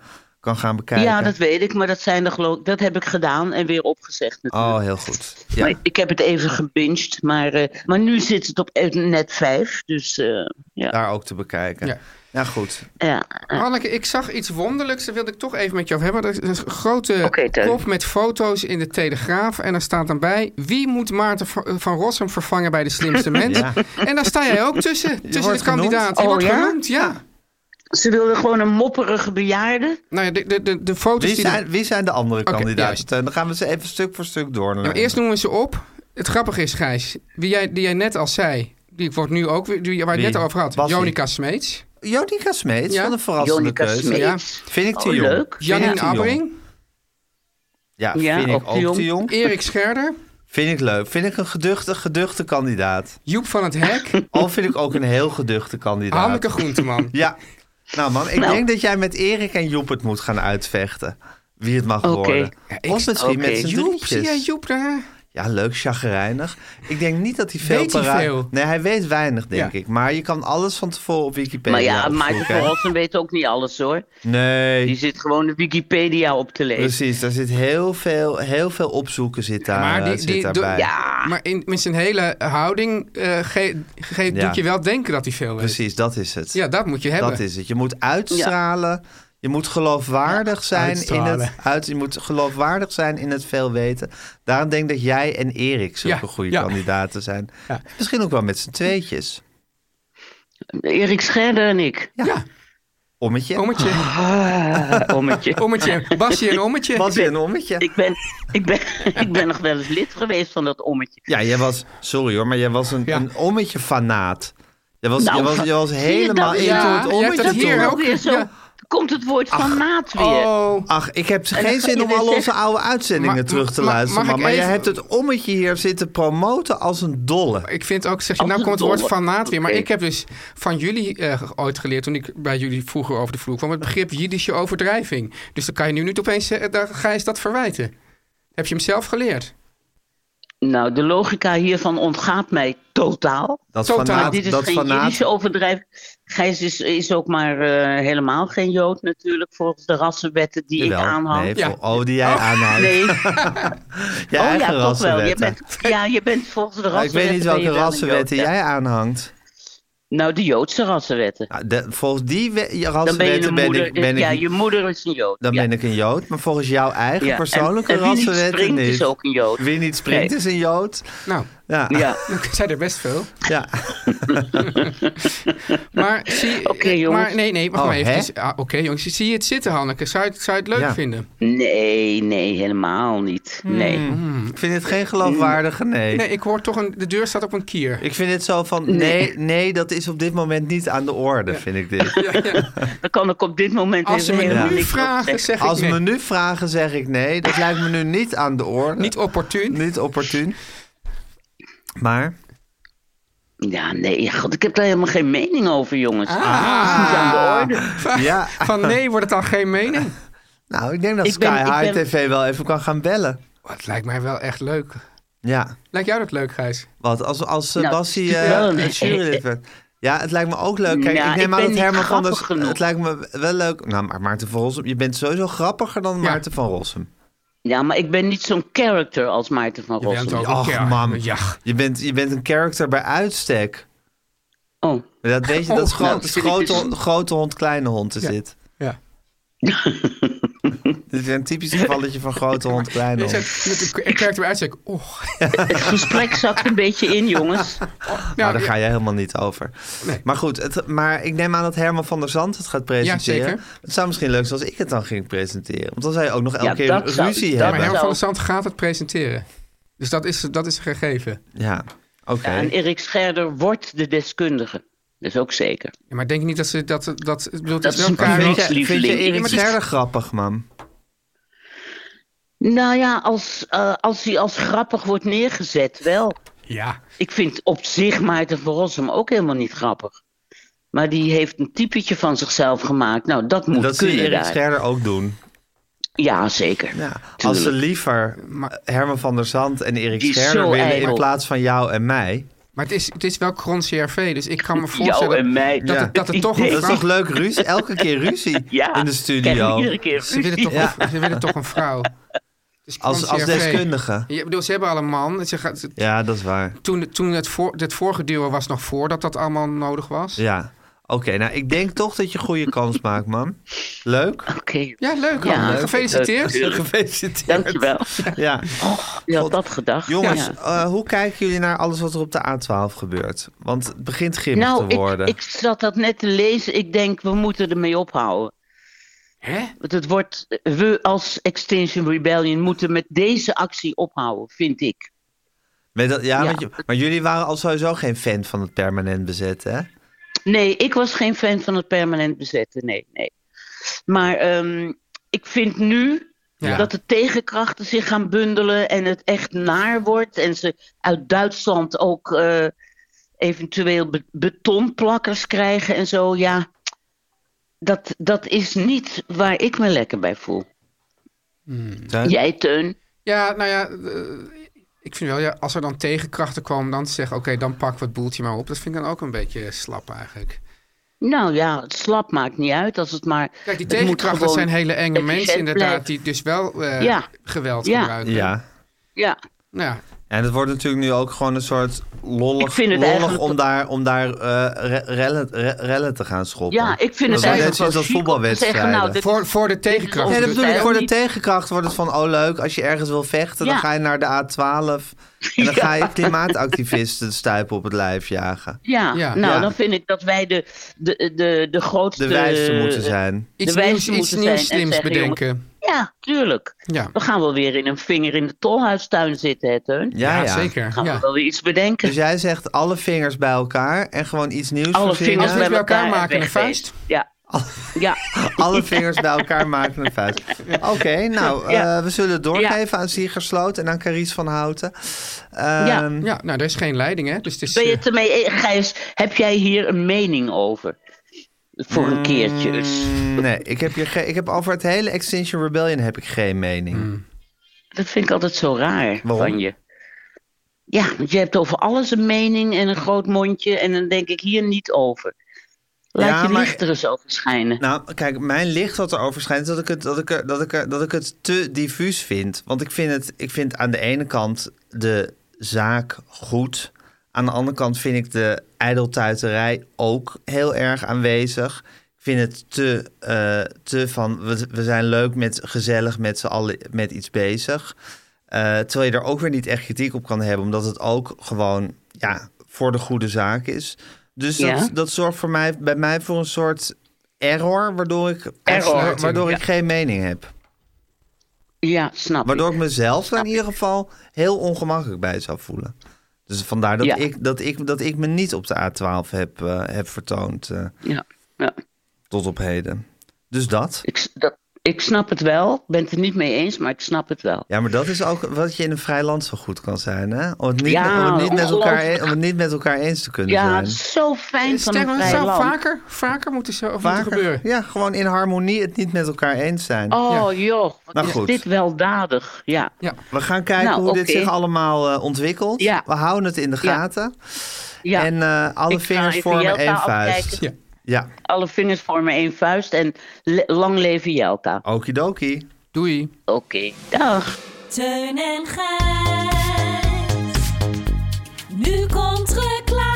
kan gaan bekijken. Ja, dat weet ik, maar dat, zijn er, geloof, ik- dat heb ik gedaan en weer opgezegd natuurlijk. Oh, heel goed. Ja. Maar ik heb het even gebinged, maar, eh, maar nu zit het op net 5. Dus eh, ja. Daar ook te bekijken. Ja, Ja. goed. ja. Anneke, ik zag iets wonderlijks, daar wilde ik toch even met je over hebben. Er is een grote Oké, Teun. kop met foto's in de Telegraaf en daar staat dan bij... wie moet Maarten Va- van Rossum vervangen bij de slimste mens? Ja. En daar sta jij ook tussen, tussen wordt de kandidaten. genoemd. Je Oh, wordt ja? genoemd, ja. Ze wilden gewoon een mopperige bejaarde. Nou ja, de, de, de, de foto's Wie Dus die... zijn, wie zijn de andere kandidaten? juist. Teun? Dan gaan we ze even stuk voor stuk door. Nou, eerst noemen we ze op. Het grappige is, Gijs, wie jij, die jij net al zei... die ik word nu ook weer, die, waar je Wie? het net over had, Bassie. Jonica Smeets. Jonica Smeets, Ja. wat een verrassende Jonica keuze. Smeets. Ja. Vind ik te Oh, jong. leuk. Vind ik Janine te jong. Abbring, Ja, Ja, vind ik ook te ook jong. te jong. Erik Scherder, Vind ik leuk. Vind ik een geduchte, geduchte kandidaat. Joep van het Hek, Al vind ik ook een heel geduchte kandidaat. Hanneke Groenteman. Ja. Nou man, ik Nou. denk dat jij met Erik en Joep het moet gaan uitvechten. Wie het mag Oké. worden. ik- of misschien Oké. met z'n Joep, zie jij drietjes. Joep daar? Ja, leuk, chagrijnig. Ik denk niet dat hij veel... Weet hij para- veel? Nee, hij weet weinig, denk Ja. ik. Maar je kan alles van tevoren op Wikipedia Maar ja, opzoeken. Maarten van Rossum weet ook niet alles hoor. Die Nee, zit gewoon de Wikipedia op te lezen. precies. Daar zit heel veel, heel veel opzoeken zit, daar, Maar die- Ah, zit die- daarbij. doe- Ja, Maar in, met zijn hele houding eh, ge- ge- Ja. doet je wel denken dat hij veel weet. Precies, dat is het. Ja, dat moet je hebben. Dat is het. Je moet uitstralen. Je moet geloofwaardig zijn in Uitstralen. het uit, je moet geloofwaardig zijn in het veel weten. Daarom denk ik dat jij en Erik zulke Ja, goede ja. kandidaten zijn. Ja. Misschien ook wel met z'n tweetjes. Erik Scherder en ik. Ja, Ommetje. ommetje. Ah, ommetje. Ommetje. Bassie en ommetje. Was je een ommetje? Ik ben, ik, ben, ik ben nog wel eens lid geweest van dat ommetje. Ja, jij was, sorry hoor, maar jij was een, Ja. een ommetje-fanaat. Jij was, Nou, jij was, jij was zie je helemaal dat? into Ja, het jij hebt ommetje dat hier toen. ook. Weer zo, ja. Komt het woord van maat weer? Oh. Ach, ik heb dan geen ga zin je om weer al onze zeggen- oude uitzendingen Maar- terug te ma- ma- luisteren. mag Maar, ik maar jij even- hebt het ommetje hier zitten promoten als een dolle. Ik vind ook, zeg je, nou Als komt een het woord dolle. van naad weer. Maar Oké. ik heb dus van jullie eh, ooit geleerd, toen ik bij jullie vroeger over de vloer kwam, het begrip Jiddische overdrijving. Dus dan kan je nu niet opeens, eh, daar ga je dat verwijten. Heb je hem zelf geleerd? Nou, de logica hiervan ontgaat mij totaal. Dat Totaal. fanaat, Maar dit is dat geen fanaat- Jiddische overdrijving. Gijs is, is ook maar eh, helemaal geen Jood natuurlijk, volgens de rassenwetten die Jawel. ik aanhang. Nee, Ja. voor- oh, die jij aanhoudt. Nee. Je oh eigen ja, toch wel. Je rassenwetten. bent, ja, je bent volgens de Nou, ik rassenwetten... weet niet ben welke je wel een rassenwetten Jood, ja. jij aanhangt. Nou, de Joodse rassenwetten. Nou, de- volgens die we- je Dan ben je rassenwetten een ben, moeder. ik, ben, ja, ik, je moeder is een Jood. dan ja. ben ik een Jood. Maar volgens jouw eigen Ja, en- persoonlijke en wie niet rassenwetten springt niet. is ook een Jood. Wie niet springt Nee. is een Jood. Nou, Ja, Ja. ik zei er best veel. ja. Maar zie... Oké, eh, jongens. Maar, nee, nee, wacht Oh, maar even. hè? Dus, ah, Oké, jongens, zie je het zitten, Hanneke? Zou je, het- zou je het leuk Ja. vinden? Nee, nee, helemaal niet. Nee. Ik vind het geen geloofwaardige nee. Nee, ik hoor toch een... De deur staat op een kier. Ik vind het zo van, nee, nee, dat is op dit moment niet aan de orde, vind ik dit. Dan kan ik op dit moment Als ze even me helemaal nu niks op vragen, zeggen. zeg ik Als nee. me nu vragen, zeg ik nee. Dat lijkt me nu niet aan de orde. Niet opportun. niet opportun. Maar... Ja, nee, god, ik heb daar helemaal geen mening over, jongens. Ah. Ah. Ja, Van nee wordt het dan geen mening. nou, ik denk dat Ik ben- Sky ik High ben- TV wel even kan gaan bellen. Wat lijkt mij wel echt leuk. Ja, Lijkt jou dat leuk, Gijs? wat als, als eh, Nou, Bassie het is wel eh een- een jurylid werd. Ja, het lijkt me ook leuk. Kijk, Nou, ik ik neem ben aan dat niet Herman van der... grappig genoeg. Het lijkt me wel leuk. Nou, maar Maarten van Rossum, je bent sowieso grappiger dan Ja. Maarten van Rossum. Ja, maar ik ben niet zo'n character als Maarten van bent Rossum. ook. Ach, ja, man. ja. Je bent, je bent een character bij uitstek. Oh. Dat weet je, dat is Oh, gro- nou, dat is grote, dit hond- grote hond, kleine hond is Ja. dit. Ja. Dit is weer een typisch gevalletje van grote hond, kleine Ik hond. zei- ik- Ik kijk eruit en zeg, oh. Het gesprek zakt een beetje in, jongens. Nou, Nou, daar ga je helemaal niet over. Nee. Maar goed, het, maar ik neem aan dat Herman van der Zand het gaat presenteren. Ja, zeker. Het zou misschien leuk zijn als ik het dan ging presenteren. Want dan zou je ook nog elke Ja, keer dat zou- ruzie dat Maar hebben. Herman Zo. van der Zand gaat het presenteren. Dus dat is, dat is een gegeven. Ja, oké. Ja, en Erik Scherder wordt de deskundige. Dat is ook zeker. Ja, maar denk je niet dat ze dat... dat, ik bedoel, het Dat is is wel een elkaar- conventie. Vind je, vind je Lieveling. Erik Ja, maar het is- Scherder grappig, man? Nou ja, als, eh, als hij als grappig wordt neergezet, wel. Ja, Ik vind op zich Maarten van Rossum ook helemaal niet grappig. Maar die heeft een typetje van zichzelf gemaakt. Nou, dat moet Dat zie je kunnen Erik daar. Scherder ook doen. Ja, zeker. Ja. Tuurlijk. Als ze liever Herman van der Zand en Erik Die is Scherder zo willen in ijdel. plaats van jou en mij. maar het is, het is wel Kron CRV, dus ik kan me voorstellen... Jou en mij. Dat, Ja. het, dat het toch Ik een Dat denk- is vrouw... toch leuk ruzie? Elke keer ruzie in Ja, de krijgen we studio. iedere keer Ze willen ruzie. toch, een, ze willen toch een vrouw. Dus Kron Als, als CRV. deskundige. Ja, ik bedoel, ze hebben al een man. Ze gaat, Ja, dat is waar. toen toen het, voor, het vorige duo was nog voordat dat allemaal nodig was. Ja, Ja. Oké, nou ik denk toch dat je goede kans maakt, man. Leuk. Oké, leuk. Ja, Anne. leuk. Gefeliciteerd. Leuk. Gefeliciteerd. dankjewel. Ja. Je had dat gedacht. Jongens, Ja. eh, hoe kijken jullie naar alles wat er op de A12 gebeurt? Want het begint grimmig Nou, te ik, worden. ik zat dat net te lezen. Ik denk, we moeten ermee ophouden. Hè? Want het wordt, we als Extinction Rebellion moeten met deze actie ophouden, vind ik. Met dat, ja, Ja. want je- maar jullie waren al sowieso geen fan van het permanent bezet, hè? Nee, ik was geen fan van het permanent bezetten. Nee, nee. Maar ehm, ik vind nu Ja. dat de tegenkrachten zich gaan bundelen en het echt naar wordt. En ze uit Duitsland ook eh, eventueel be- betonplakkers krijgen en zo. Ja, dat, dat is niet waar ik me lekker bij voel. Zijn- Jij, Teun? Ja, nou ja, eh, ik vind wel, ja, als er dan tegenkrachten komen, dan te zeggen, oké, dan pakken we het boeltje maar op. Dat vind ik dan ook een beetje slap eigenlijk. Nou ja, het slap maakt niet uit als het maar. Kijk, die het moet tegenkrachten gewoon zijn hele enge efficiënt mensen inderdaad, blijven. die dus wel eh, Ja. geweld Ja. gebruiken. Ja. Ja, Nou ja, En het wordt natuurlijk nu ook gewoon een soort lollig, Ik vind het lollig eigenlijk- om daar, om daar eh, re- rellen, re- rellen te gaan schoppen. ja ik vind het Dat is net eigenlijk. zoiets wel als chic om te voetbalwedstrijden. zeggen, nou, dit- voor, voor de Nee, tegenkrachten. dat Absoluut. bedoel ik. Ja, Voor de niet. tegenkracht wordt het van, oh leuk, als je ergens wil vechten, dan Ja. ga je naar de A12. En dan ga je klimaatactivisten de stuipen op het lijf jagen. Ja, Ja. nou Ja. dan vind ik dat wij de, de, de, de grootste... De wijste moeten zijn. iets de wijze nieuws, iets moeten nieuws zijn en slims zeggen, bedenken. Ja, tuurlijk. Ja. We gaan wel weer in een vinger in de tolhuistuin zitten, hè Teun? Ja, ja. zeker. Gaan Ja. we wel weer iets bedenken. Dus jij zegt alle vingers bij elkaar en gewoon iets nieuws Alle verzinnen. vingers Als we bij bij elkaar elkaar maken, een wegwezen. vuist. Ja. ja. Alle vingers bij elkaar maken een vuist. Oké, nou, Ja. eh, we zullen het doorgeven aan Siegersloot en aan Carice van Houten. Ehm, ja, nou, er is geen leiding, hè? Dus het is, Ben je eh, het ermee, eens, Gijs? Heb jij hier een mening over? Voor Mm. een keertje. dus. Nee, ik heb, hier ge- ik heb over het hele Extinction Rebellion heb ik geen mening. Dat vind ik altijd zo raar Waarom? van je. Ja, want je hebt over alles een mening en een groot mondje. En dan denk ik hier niet over. Laat Ja, je maar- licht er eens over schijnen. Nou, kijk, mijn licht wat erover schijnt, is dat ik het, dat ik, er- dat ik, er- dat ik het te diffuus vind. Want ik vind, het, ik vind aan de ene kant de zaak goed. Aan de andere kant vind ik de ijdeltuiterij ook heel erg aanwezig. Ik vind het te, eh, te van, we, we zijn leuk met, gezellig met z'n allen met iets bezig. Eh, terwijl je er ook weer niet echt kritiek op kan hebben, omdat het ook gewoon ja, voor de goede zaak is. Dus dat, Ja. dat zorgt voor mij, bij mij voor een soort error, waardoor ik, Error. waardoor ik geen mening heb. Ja, snap ik. Nou, Waardoor ik mezelf er in ieder geval heel ongemakkelijk bij zou voelen. Dus vandaar dat, Ja. ik, dat, ik, dat ik me niet op de A12 heb, eh, heb vertoond eh, Ja, ja. tot op heden. Dus dat. Ik, s- dat, ik snap het wel. Ik ben het er niet mee eens, maar ik snap het wel. Ja, maar dat is ook wat je in een vrij land zo goed kan zijn, hè? Om het niet, Ja, om het niet, met, elkaar, e- ongelooflijk. om het niet met elkaar eens te kunnen Ja, zijn. het is zo fijn van Sterker een nog, het vrij zou land. vaker, vaker moeten, zo, of moeten Vaker, gebeuren. ja, gewoon in harmonie het niet met elkaar eens zijn. Oh joh, wat Nou, is goed. dit weldadig. Ja, Ja. We gaan kijken Nou, hoe dit oké. zich allemaal eh, ontwikkelt. Ja. We houden het in de Ja. gaten. ja. En eh, alle Ik ga vingers even vormen Jelta één afkijken. vuist. Ja. Ja, alle vingers vormen één vuist en le- lang leven Jelka. okidoki. Doei. Oké, dag. Teun en Gijs. Nu komt reclame.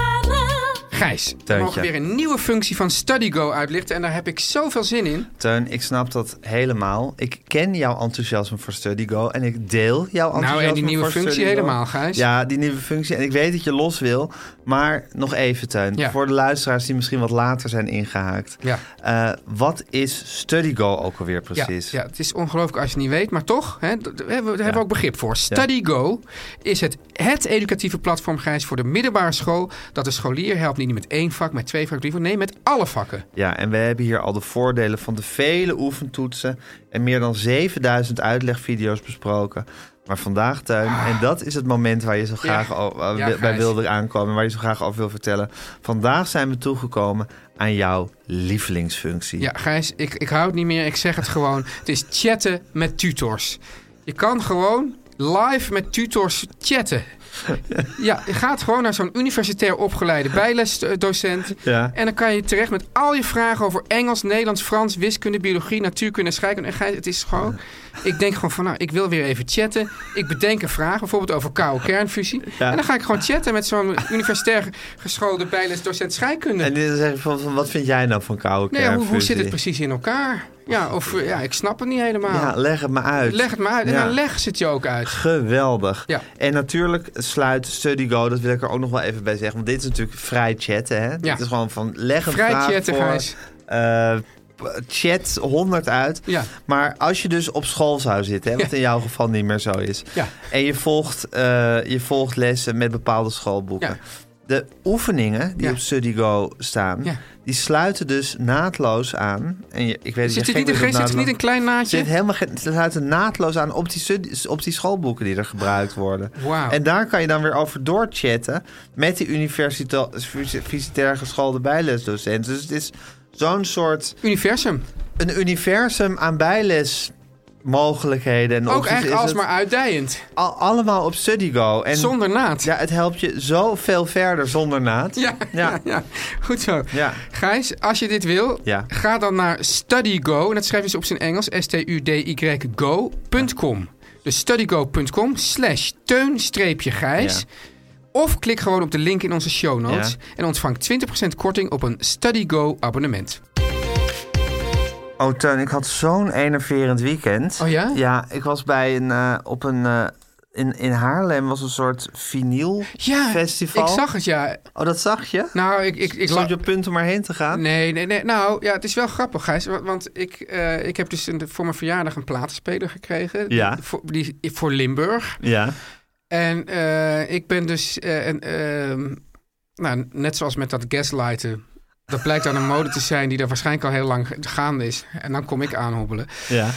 Gijs, we Teuntje. mogen weer een nieuwe functie van StudyGo uitlichten. En daar heb ik zoveel zin in. Teun, ik snap dat helemaal. Ik ken jouw enthousiasme voor StudyGo en ik deel jouw enthousiasme Nou, en die nieuwe voor functie StudyGo. helemaal, Gijs. Ja, die nieuwe functie. En ik weet dat je los wil, maar nog even, Teun. Ja. Voor de luisteraars die misschien wat later zijn ingehaakt. Ja. Eh, wat is StudyGo ook alweer precies? Ja, ja, het is ongelooflijk als je het niet weet, maar toch, hè, d- d- daar hebben we daar hebben we ook begrip voor. StudyGo is het, het educatieve platform, Gijs, voor de middelbare school... dat de scholier helpt niet met één vak, met twee vakken, drie vakken, nee, met alle vakken. Ja, en we hebben hier al de voordelen van de vele oefentoetsen en meer dan 7000 uitlegvideo's besproken. Maar vandaag, Tuin, en dat is het moment waar je zo graag al- eh, Ah. Ja, wi- bij Gijs. wilde aankomen, waar je zo graag over wil vertellen. Vandaag zijn we toegekomen aan jouw lievelingsfunctie. Ja, Gijs, ik, ik hou het niet meer. Ik zeg het gewoon. Het is chatten met tutors. Je kan gewoon live met tutors chatten. Ja, je gaat gewoon naar zo'n universitair opgeleide bijlesdocent. Ja. En dan kan je terecht met al je vragen over Engels, Nederlands, Frans, wiskunde, biologie, natuurkunde, scheikunde. En Gijs, het is gewoon... Ik denk gewoon van, nou, ik wil weer even chatten. Ik bedenk een vraag, bijvoorbeeld over koude kernfusie. En dan ga ik gewoon chatten met zo'n universitair geschoolde bijlesdocent scheikunde. En dan zeg je van, van, wat vind jij nou van koude Nee, hoe, hoe zit het kernfusie? precies in elkaar? Ja, of eh, ja, ik snap het niet helemaal. Ja, leg het me uit. Leg het maar uit. En Ja. dan leg ze het je ook uit. Geweldig. Ja. En natuurlijk sluit StudyGo, dat wil ik er ook nog wel even bij zeggen. Want dit is natuurlijk vrij chatten, hè? Ja. Dit is gewoon van leg een Vrij vraag chatten, voor, Gijs. eh, p- chat 100 uit. Ja. Maar als je dus op school zou zitten, hè, wat in jouw geval niet meer zo is. Ja. En je volgt, eh, je volgt lessen met bepaalde schoolboeken. Ja. De oefeningen die Ja. op StudyGo staan, Ja. die sluiten dus naadloos aan. En je, ik weet dat Zit je er gek niet, bent een- op zit er dus naadloos- niet een klein zit naadje? helemaal geen- ze sluiten naadloos aan op die, stud- op die schoolboeken die er gebruikt worden. Wauw. En daar kan je dan weer over doorchatten met die universita- universitair geschoolde bijlesdocent. Dus het is zo'n soort Universum. een universum aan bijlesmogelijkheden. En Ook opties eigenlijk is het alsmaar uitdijend. al- allemaal op StudyGo. En Zonder naad. Ja, het helpt je zoveel verder zonder naad. Ja, Ja. ja. ja. goed zo. Ja. Gijs, als je dit wil, Ja. ga dan naar StudyGo. En dat schrijven ze op zijn Engels. S-T-U-D-Y-Go.com. Dus studygo.com slash teun-gijs. Ja. Of klik gewoon op de link in onze show notes. Ja. En ontvang 20% korting op een StudyGo abonnement. Oh, Teun, ik had zo'n enerverend weekend. Oh ja? Ja, ik was bij een, eh, op een... eh, in, in Haarlem was een soort vinylfestival. Ja, ik zag het, ja. Oh, dat zag je? Nou, ik... ik, ik Stond je op punt om erheen te gaan? Nee, nee, nee. Nou, ja, het is wel grappig, Gijs. wa- Want ik, eh, ik heb dus een- voor mijn verjaardag een platenspeler gekregen. Ja. Die- Voor, die, voor Limburg. Ja. En eh, ik ben dus... eh, en, ehm, nou, net zoals met dat gaslighten. Dat blijkt dan een mode te zijn die er waarschijnlijk al heel lang ge- gaande is. En dan kom ik aanhobbelen. Ja.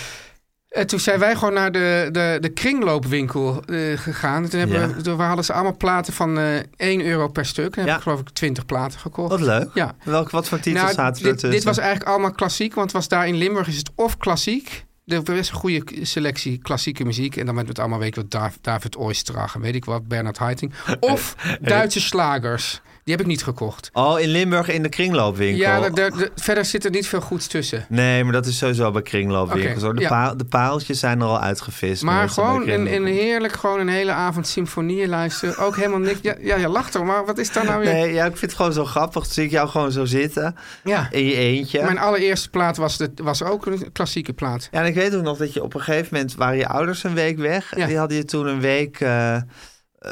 En toen zijn wij gewoon naar de, de, de kringloopwinkel eh, gegaan. En Toen, hebben Ja. we, toen hadden ze allemaal platen van eh 1 euro per stuk. En Ja. heb ik geloof ik 20 platen gekocht. Wat leuk. Ja. Welk, wat voor titels Nou, zaten er dit, tussen? dit was eigenlijk allemaal klassiek, want was daar in Limburg is het of klassiek. Er er is een goede k- selectie klassieke muziek. En dan met het allemaal weet ik wat Dav- David Oistrach en weet ik wat, Bernard Haitink. Of Duitse slagers. Die heb ik niet gekocht. Oh, in Limburg in de kringloopwinkel. Ja, daar- daar- daar- verder zit er niet veel goeds tussen. Nee, maar dat is sowieso bij kringloopwinkels. Oké, hoor. de, ja. paal- de paaltjes zijn er al uitgevist. Maar meestal bij gewoon een, een kringloopwinkels. heerlijk, gewoon een hele avond symfonieën luisteren. Ook helemaal niks. Ja, ja, ja lach toch, maar wat is daar nou weer? Nee, ja, ik vind het gewoon zo grappig. Dan zie ik jou gewoon zo zitten Ja. in je eentje. Mijn allereerste plaat was, de, was ook een klassieke plaat. Ja, en ik weet ook nog dat je op een gegeven moment waren je ouders een week weg. Ja. Die hadden je toen een week eh, eh,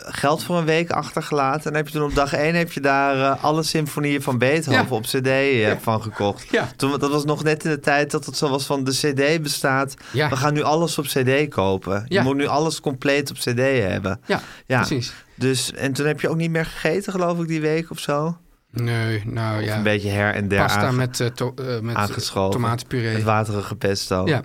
geld voor een week achtergelaten. En dan heb je toen op dag één heb je daar eh, alle symfonieën van Beethoven Ja. op cd eh, van gekocht. Ja. Toen, dat was nog net in de tijd dat het zo was van de cd bestaat. Ja. We gaan nu alles op cd kopen. Ja. Je moet nu alles compleet op cd hebben. Ja, precies. Dus, en toen heb je ook niet meer gegeten geloof ik die week of zo. Nee, nou ja. Een beetje her en der pasta aange- met, eh, to- eh, met aangeschoven. tomatenpuree. Het waterige pesto. Ja.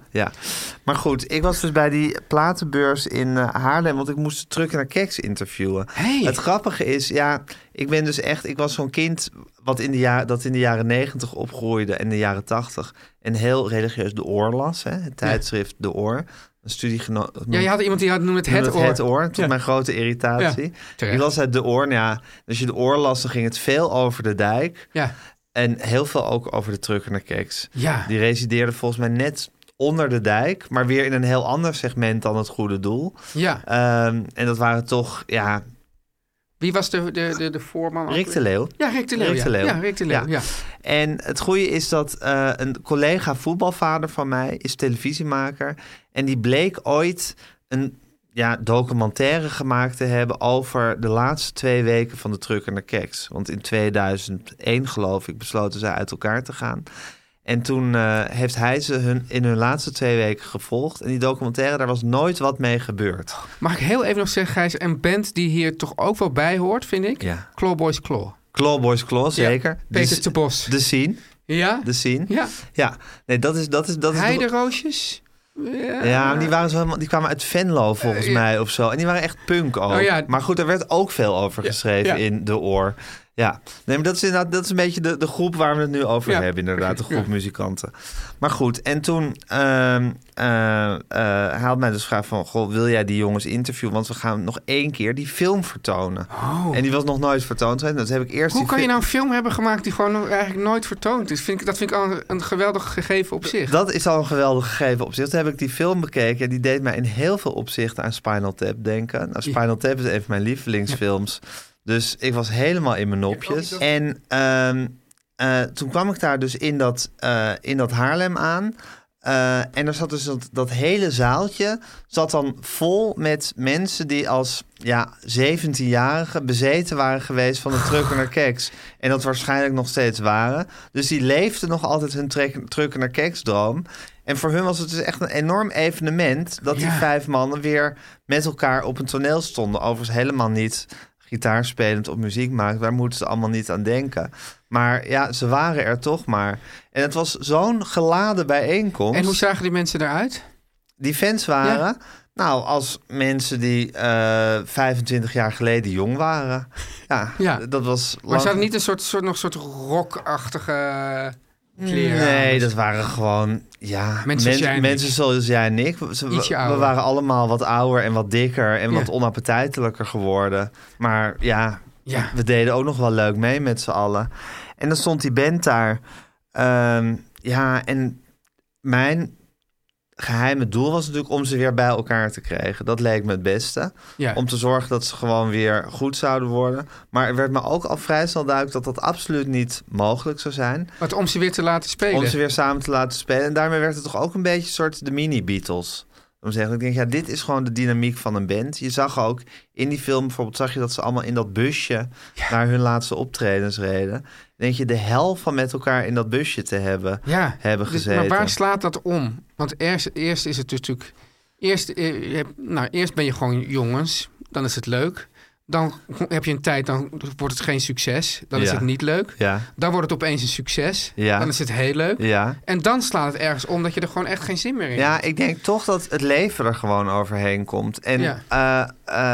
Maar goed, ik was dus bij die platenbeurs in eh, Haarlem, want ik moest terug naar Keks interviewen. Hey. Het grappige is, ja, ik ben dus echt, ik was zo'n kind wat in de ja- dat in de jaren negentig opgroeide en de jaren tachtig. En heel religieus de oor las, hè? het tijdschrift De Oor. Een studiegenoot. ja, je had iemand die had noemde het het oor. Het oor, tot Ja. mijn grote irritatie. Ja, terecht. ik las uit de oor, nou ja, als je de oor las, dan ging het veel over de dijk. Ja. En heel veel ook over de truckenerkeks. Ja. Die resideerde volgens mij net onder de dijk, maar weer in een heel ander segment dan het goede doel. ja, Ehm, en dat waren toch, ja, Wie was de, de, de, de voorman? ook Rick de weer? Leeuw. Ja, Rick de Leeuw. Rick ja. de Leeuw. Ja, Rick de Leeuw. Ja. En het goede is dat eh, een collega voetbalvader van mij is televisiemaker. En die bleek ooit een ja, documentaire gemaakt te hebben over de laatste twee weken van de Trucker naar Keks. Want in 2001 geloof ik besloten zij uit elkaar te gaan. En toen eh, heeft hij ze hun, in hun laatste twee weken gevolgd. En die documentaire, daar was nooit wat mee gebeurd. Mag ik heel even nog zeggen, Gijs, een band die hier toch ook wel bij hoort, vind ik? Ja. Claw Boys Claw. Clawboys Claw, zeker. De Peter s- te Bos. De scene. Ja? De scene. Ja. Ja, nee, dat is... Dat is, dat is Dus Heideroosjes? Ja. Ja, maar die, waren zo helemaal, die kwamen uit Venlo volgens Eh, ja. mij of zo. En die waren echt punk ook. Oh ja. Maar goed, er werd ook veel over Ja, geschreven ja. in De Oor. Ja, nee, maar dat is inderdaad dat is een beetje de, de groep waar we het nu over Ja, hebben, inderdaad. De precies, groep ja. muzikanten. Maar goed, en toen ehm eh, eh, hij had mij dus gevraagd van... Goh, wil jij die jongens interviewen? Want we gaan nog één keer die film vertonen. En die was nog nooit vertoond. geweest. Dus heb ik eerst Oh. Hoe die kan je fi- nou een film hebben gemaakt die gewoon eigenlijk nooit vertoond is? Vind ik, dat vind ik al een, een geweldig gegeven op zich. Dat is al een geweldig gegeven opzicht. Toen heb ik die film bekeken en die deed mij in heel veel opzichten aan Spinal Tap denken. Nou, Spinal Tap is een van mijn lievelingsfilms. Dus ik was helemaal in mijn nopjes. En ehm, eh, toen kwam ik daar dus in dat, eh, in dat Haarlem aan. Eh, en er zat dus dat, dat hele zaaltje zat dan vol met mensen die als ja, 17-jarigen bezeten waren geweest van de trucker naar keks. En dat waarschijnlijk nog steeds waren. Dus die leefden nog altijd hun trek- trucker naar keks droom. En voor hun was het dus echt een enorm evenement dat die Ja. vijf mannen weer met elkaar op een toneel stonden. Overigens helemaal niet gitaarspelend of muziek maken. Daar moeten ze allemaal niet aan denken. Maar ja, ze waren er toch maar. En het was zo'n geladen bijeenkomst En hoe zagen die mensen eruit? die fans waren. Nou, als mensen die eh, 25 jaar geleden jong waren. Ja, Ja. d- dat was. Maar lang- ze hadden niet een soort, soort, nog soort rockachtige kleren aan? dus- Nee, dat waren gewoon. Ja, Mensen als men- jij en mensen ik. zoals jij en ik. Ze- we- Ietsje we ouder. waren allemaal wat ouder en wat dikker en Ja. wat onappetijtelijker geworden. Maar ja, Ja. we deden ook nog wel leuk mee met z'n allen. En dan stond die band daar. Ehm, ja, en mijn geheime doel was natuurlijk om ze weer bij elkaar te krijgen. Dat leek me het beste. Ja. Om te zorgen dat ze gewoon weer goed zouden worden. Maar er werd me ook al vrij snel duidelijk dat dat absoluut niet mogelijk zou zijn. Wat, om ze weer te laten spelen? Om ze weer samen te laten spelen. En daarmee werd het toch ook een beetje een soort de mini-Beatles. Om te zeggen, ik denk, ja, dit is gewoon de dynamiek van een band. Je zag ook in die film bijvoorbeeld, zag je dat ze allemaal in dat busje naar hun laatste optredens reden. Dan Denk je, de hel van met elkaar in dat busje te hebben, ja. hebben Dus- gezeten. Maar waar slaat dat om? Want eerst, eerst is het natuurlijk... Eerst, eh, je hebt- nou, eerst ben je gewoon jongens, dan is het leuk. Dan heb je een tijd, dan wordt het geen succes. Dan is Ja. het niet leuk. Ja, Dan wordt het opeens een succes. Ja. Dan is het heel leuk. ja. En dan slaat het ergens om dat je er gewoon echt geen zin meer in Ja, hebt. ik denk toch dat het leven er gewoon overheen komt. En Ja. eh,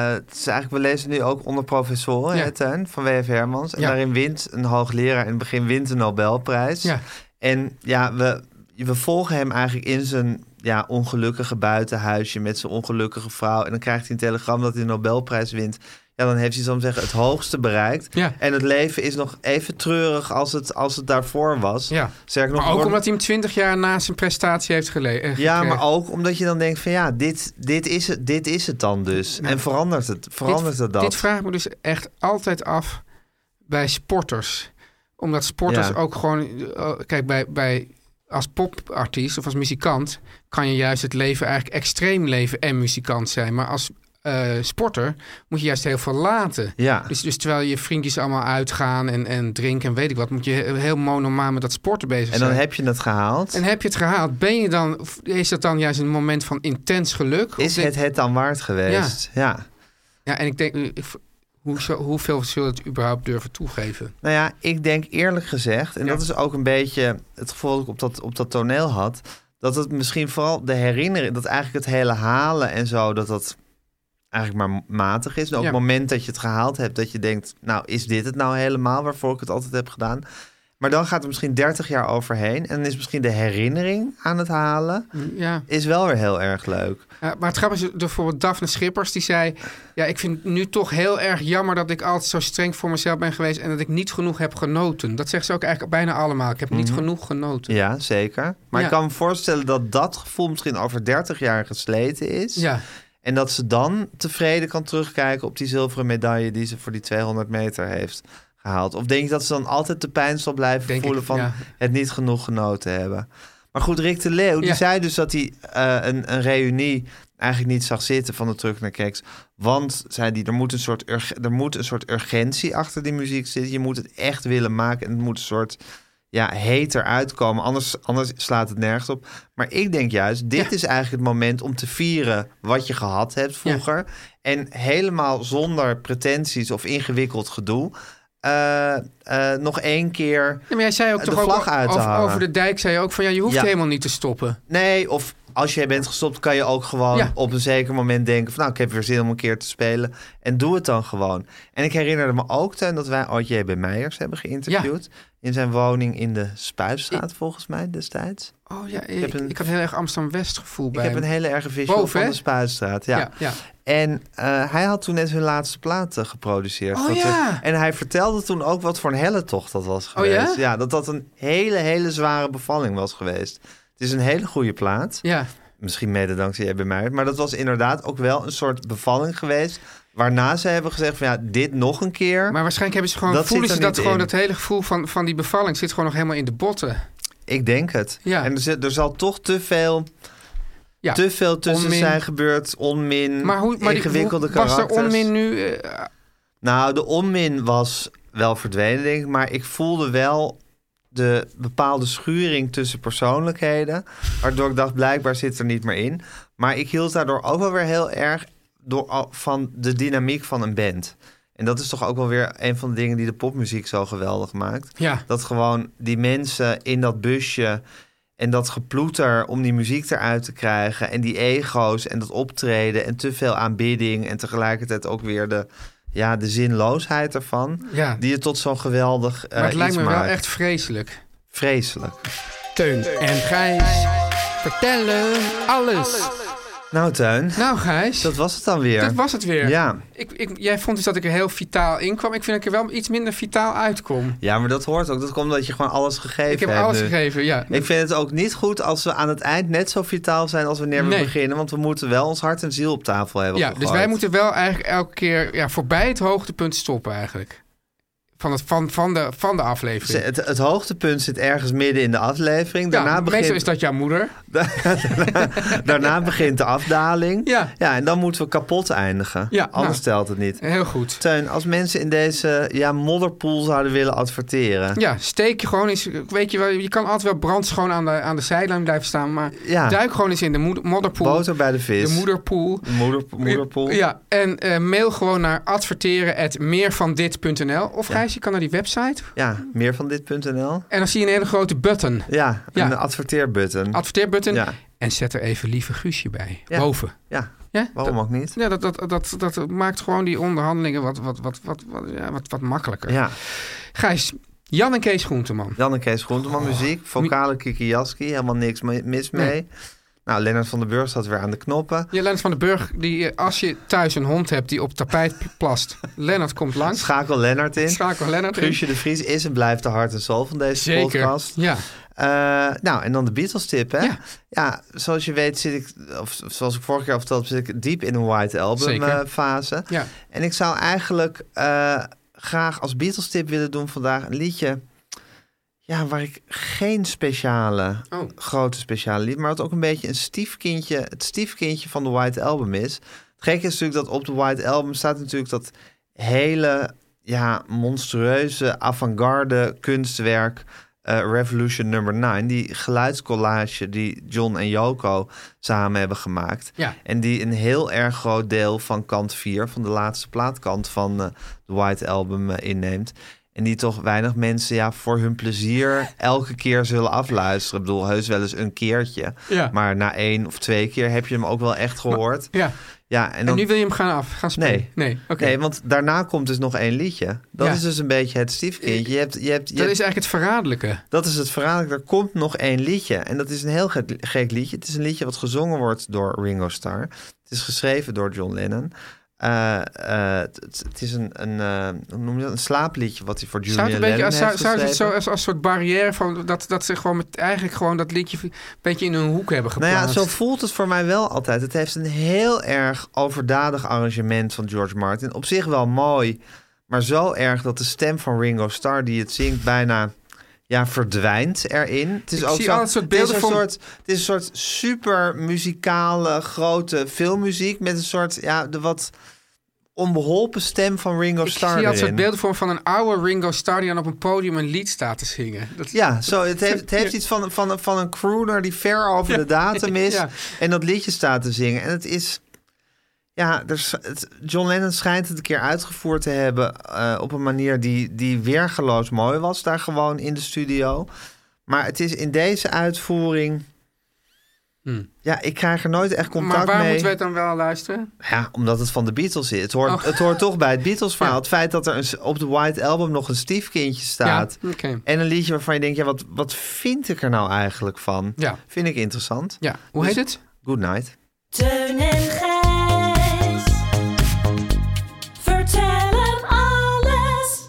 eh, het is eigenlijk, we lezen nu ook onder professoren, Ja. hè, Teun, van W.F. Hermans. En Ja. daarin wint een hoogleraar in het begin wint de Nobelprijs. Ja. En ja, we, we volgen hem eigenlijk in zijn ja, ongelukkige buitenhuisje met zijn ongelukkige vrouw. En dan krijgt hij een telegram dat hij de Nobelprijs wint. Ja, dan heeft hij, zal ik maar zeggen, het hoogste bereikt. Ja. En het leven is nog even treurig als het, als het daarvoor was. Ja. Sterker nog, Maar ook wordt- omdat hij hem twintig jaar na zijn prestatie heeft eh, gelezen. ja, maar ook omdat je dan denkt van ja, dit, dit, is, het, dit is het dan dus. en verandert het, verandert het dat? Dit vraagt me dus echt altijd af bij sporters. Omdat sporters Ja. ook gewoon... eh, Kijk, bij, bij, als popartiest of als muzikant... kan je juist het leven eigenlijk extreem leven en muzikant zijn. Maar als eh, sporter moet je juist heel veel laten. Ja. Dus, dus terwijl je vriendjes allemaal uitgaan en, en drinken en weet ik wat... moet je he- heel monomaan met dat sporten bezig en zijn. dan heb je het gehaald. En heb je het gehaald? Ben je dan, of is dat dan juist een moment van intens geluk? Of is denk- het het dan waard geweest? Ja. Ja, en ik denk, eh, ik, hoe, zo- hoeveel zullen het überhaupt durven toegeven? Nou ja, ik denk eerlijk gezegd, en Ja. dat is ook een beetje het gevoel dat ik op dat, op dat toneel had, dat het misschien vooral de herinnering, dat eigenlijk het hele halen en zo, dat dat eigenlijk maar matig is. En ook Ja. het moment dat je het gehaald hebt, dat je denkt, nou is dit het nou helemaal waarvoor ik het altijd heb gedaan? Maar dan gaat er misschien 30 jaar overheen en dan is misschien de herinnering aan het halen Ja. is wel weer heel erg leuk. Ja, maar het grappige is, bijvoorbeeld Daphne Schippers, die zei... Ja, ik vind het nu toch heel erg jammer dat ik altijd zo streng voor mezelf ben geweest... en dat ik niet genoeg heb genoten. Dat zegt ze ook eigenlijk bijna allemaal. Ik heb niet genoeg genoten. Mhm. Ja, zeker. Maar Ja. ik kan me voorstellen dat dat gevoel misschien over 30 jaar gesleten is. Ja. En En dat ze dan tevreden kan terugkijken op die zilveren medaille die ze voor die 200 meter heeft gehaald. Of denk je dat ze dan altijd de pijn zal blijven Denk ik, voelen van ja. het niet genoeg genoten hebben? Maar goed, Rick de Leeuw, die Ja. zei dus dat hij eh, een, een reunie eigenlijk niet zag zitten van de terug naar Keks. Want, zei hij, er moet, een soort urg- er moet een soort urgentie achter die muziek zitten. Je moet het echt willen maken en het moet een soort ja, heter uitkomen. Anders, anders slaat het nergens op. Maar ik denk juist, dit Ja. is eigenlijk het moment om te vieren wat je gehad hebt vroeger. En helemaal zonder pretenties of ingewikkeld gedoe. eh, eh, nog één keer. Ja, maar jij zei ook De toch ook vlag uit te over, hangen. over de dijk zei je ook van ja, je hoeft Ja. helemaal niet te stoppen. Nee, of als jij bent gestopt, kan je ook gewoon Ja. op een zeker moment denken: van nou, ik heb weer zin om een keer te spelen. En doe het dan gewoon. En ik herinnerde me ook, Teun, dat wij ooit J.B. Meijers hebben geïnterviewd. In zijn woning in de Spuistraat, volgens mij destijds. Oh ja, ik, heb een- ik had heel erg Amsterdam-West gevoel bij Ik heb hem. een hele erge visual Boven, van hè? de Spuistraat. Ja. ja, ja. En eh, hij had toen net hun laatste plaat eh, geproduceerd. Oh, Dat er- ja. en hij vertelde toen ook wat voor een helle tocht dat was Oh, ja? geweest. ja? dat dat een hele, hele zware bevalling was geweest. Het is een hele goede plaat. ja. Misschien mede dankzij jij bij mij. Maar dat was inderdaad ook wel een soort bevalling geweest. Waarna ze hebben gezegd van ja, dit nog een keer. Maar waarschijnlijk hebben ze gewoon, Dat voelen zit ze er dat niet gewoon, in. dat hele gevoel van, van die bevalling zit gewoon nog helemaal in de botten. Ik denk het. Ja. En er, zit- er zal toch te veel, Ja. te veel tussen Onmin. zijn gebeurd. Onmin, maar hoe, maar die- ingewikkelde hoe- was er karakters. onmin nu? eh, Nou, de onmin was wel verdwenen, denk ik. Maar ik voelde wel de bepaalde schuring tussen persoonlijkheden. Waardoor ik dacht, blijkbaar zit er niet meer in. Maar ik hield daardoor ook wel weer heel erg door, al- van de dynamiek van een band. En dat is toch ook wel weer een van de dingen die de popmuziek zo geweldig maakt. ja. Dat gewoon die mensen in dat busje en dat geploeter om die muziek eruit te krijgen. En die ego's en dat optreden en te veel aanbidding. En tegelijkertijd ook weer de, ja, de zinloosheid ervan. Ja. Die je tot zo'n geweldig eh Maar het lijkt iets me wel maakt. echt vreselijk. vreselijk. Teun en Gijs vertellen alles. Nou, Tuin, Nou Gijs, dat dat, was het dan weer. was het weer. Ja. Ik, ik, jij vond dus dat ik er heel vitaal in kwam. Ik vind dat ik er wel iets minder vitaal uitkom. ja, maar dat hoort ook. Dat komt omdat je gewoon alles gegeven Ik heb hebt alles nu. gegeven, ja. Ik vind het ook niet goed als we aan het eind net zo vitaal zijn als wanneer we Nee. beginnen. Want we moeten wel ons hart en ziel op tafel hebben Ja, gegooid. dus wij moeten wel eigenlijk elke keer ja, voorbij het hoogtepunt stoppen eigenlijk. Van, het, van, van, de, van de Ze- aflevering. Dus Het, het hoogtepunt zit ergens midden in de aflevering. Daarna, ja, meestal begint, is dat jouw moeder. daarna begint de afdaling. Ja. en dan moeten we kapot eindigen. Ja, Anders nou. stelt het niet. Heel goed. Teun, als mensen in deze ja, modderpoel zouden willen adverteren. Ja, steek je gewoon eens. Weet je wel, je kan altijd wel brandschoon aan de, aan de zijlijn blijven staan. Maar Ja. duik gewoon eens in de moeder, modderpoel. Boter bij de vis. de moederpoel. Moeder, moederpoel. Ja, en eh, mail gewoon naar adverteren.meervandit.nl. Of Gijs, je kan naar die website. Ja, meer van dit.nl. En dan zie je een hele grote button. Ja, Ja. een adverteerbutton. Adverteerbutton. Ja. En zet er even lieve Guusje bij. Ja. Boven. ja, Ja? waarom ook niet? Ja, dat, dat, dat, dat maakt gewoon die onderhandelingen wat, wat, wat, wat, wat, ja, wat, wat makkelijker. Ja, Gijs, Jan en Kees Groenteman. dan een Kees Groenteman muziek. Vocale Kiki Jaski, helemaal niks me- mis mee. Nou, Lennart van den Burg staat weer aan de knoppen. Ja, Lennart van den Burg, die, eh, als je thuis een hond hebt die op tapijt plast, Lennart komt langs. Schakel Lennart in. Schakel Lennart in. Guusje de Vries is en blijft de hart en ziel van deze Zeker. podcast. Ja. Eh, nou, en dan de Beatles tip, hè? Ja. Ja. zoals je weet zit ik, of zoals ik vorige keer al vertelde, zit ik diep in een White Album Zeker. eh, fase. Ja. En ik zou eigenlijk eh, graag als Beatles tip willen doen vandaag een liedje... Ja, waar ik geen speciale, Oh. grote speciale lied... maar wat ook een beetje een stiefkindje, het stiefkindje van de White Album is. Het gekke is natuurlijk dat op de White Album staat natuurlijk dat hele ja, monstrueuze avant-garde kunstwerk eh, Revolution Number 9. Die geluidscollage die John en Yoko samen hebben gemaakt. Ja. En die een heel erg groot deel van kant 4, van de laatste plaatkant van eh, de White Album eh, inneemt. En die toch weinig mensen ja, voor hun plezier elke keer zullen afluisteren. Ik bedoel, heus wel eens een keertje. Ja. Maar na één of twee keer heb je hem ook wel echt gehoord. ja. ja, en En dan, nu wil je hem gaan af, gaan spelen? Nee. Nee, oké. Nee, want daarna komt dus nog één liedje. Dat Ja. is dus een beetje het stiefkindje. Je hebt, je hebt, je Dat hebt- is eigenlijk het verraderlijke. dat is het verhaal. Er komt nog één liedje. En dat is een heel gek, gek liedje. Het is een liedje wat gezongen wordt door Ringo Starr. Het is geschreven door John Lennon. Eh, eh, het- het het is een, een, eh, hoe noem je dat? een slaapliedje wat hij voor Julian Zou het een beetje Lennon als, zou, heeft zou het zo, geschreven. als, als soort barrière van dat, dat ze gewoon met eigenlijk gewoon dat liedje een beetje in hun hoek hebben Nou geplaatst? ja, zo voelt het voor mij wel altijd. Het heeft een heel erg overdadig arrangement van George Martin. Op zich wel mooi, maar zo erg dat de stem van Ringo Starr die het zingt bijna ja, verdwijnt erin. Het is Ik ook zie zo, altijd soort beelden het is een van- soort, het is een soort super muzikale grote filmmuziek met een soort ja, de wat onbeholpen stem van Ringo Ik Starr zie altijd erin. soort beeldenvorm van een oude Ringo Starr die dan op een podium een lied staat te zingen. Dat, Ja, zo, het heeft, het heeft iets van, van, van een crooner die ver over de datum is Ja. en dat liedje staat te zingen. En het is, ja, er, is- het- John Lennon schijnt het een keer uitgevoerd te hebben eh, op een manier die, die weergeloos mooi was daar gewoon in de studio. Maar het is in deze uitvoering, Hmm. ja, ik krijg er nooit echt contact maar waar mee. moeten we het dan wel luisteren? Ja, omdat het van de Beatles is. Het hoort, Oh. het hoort toch bij het Beatles verhaal. Ja. Het feit dat er een, op de White Album nog een stiefkindje staat. Ja, oké. En een liedje waarvan je denkt, ja, wat, wat vind ik er nou eigenlijk van? Ja. Vind ik interessant. Ja, hoe Dus- heet het? Good night. Teun en Gijs. Vertel hem alles.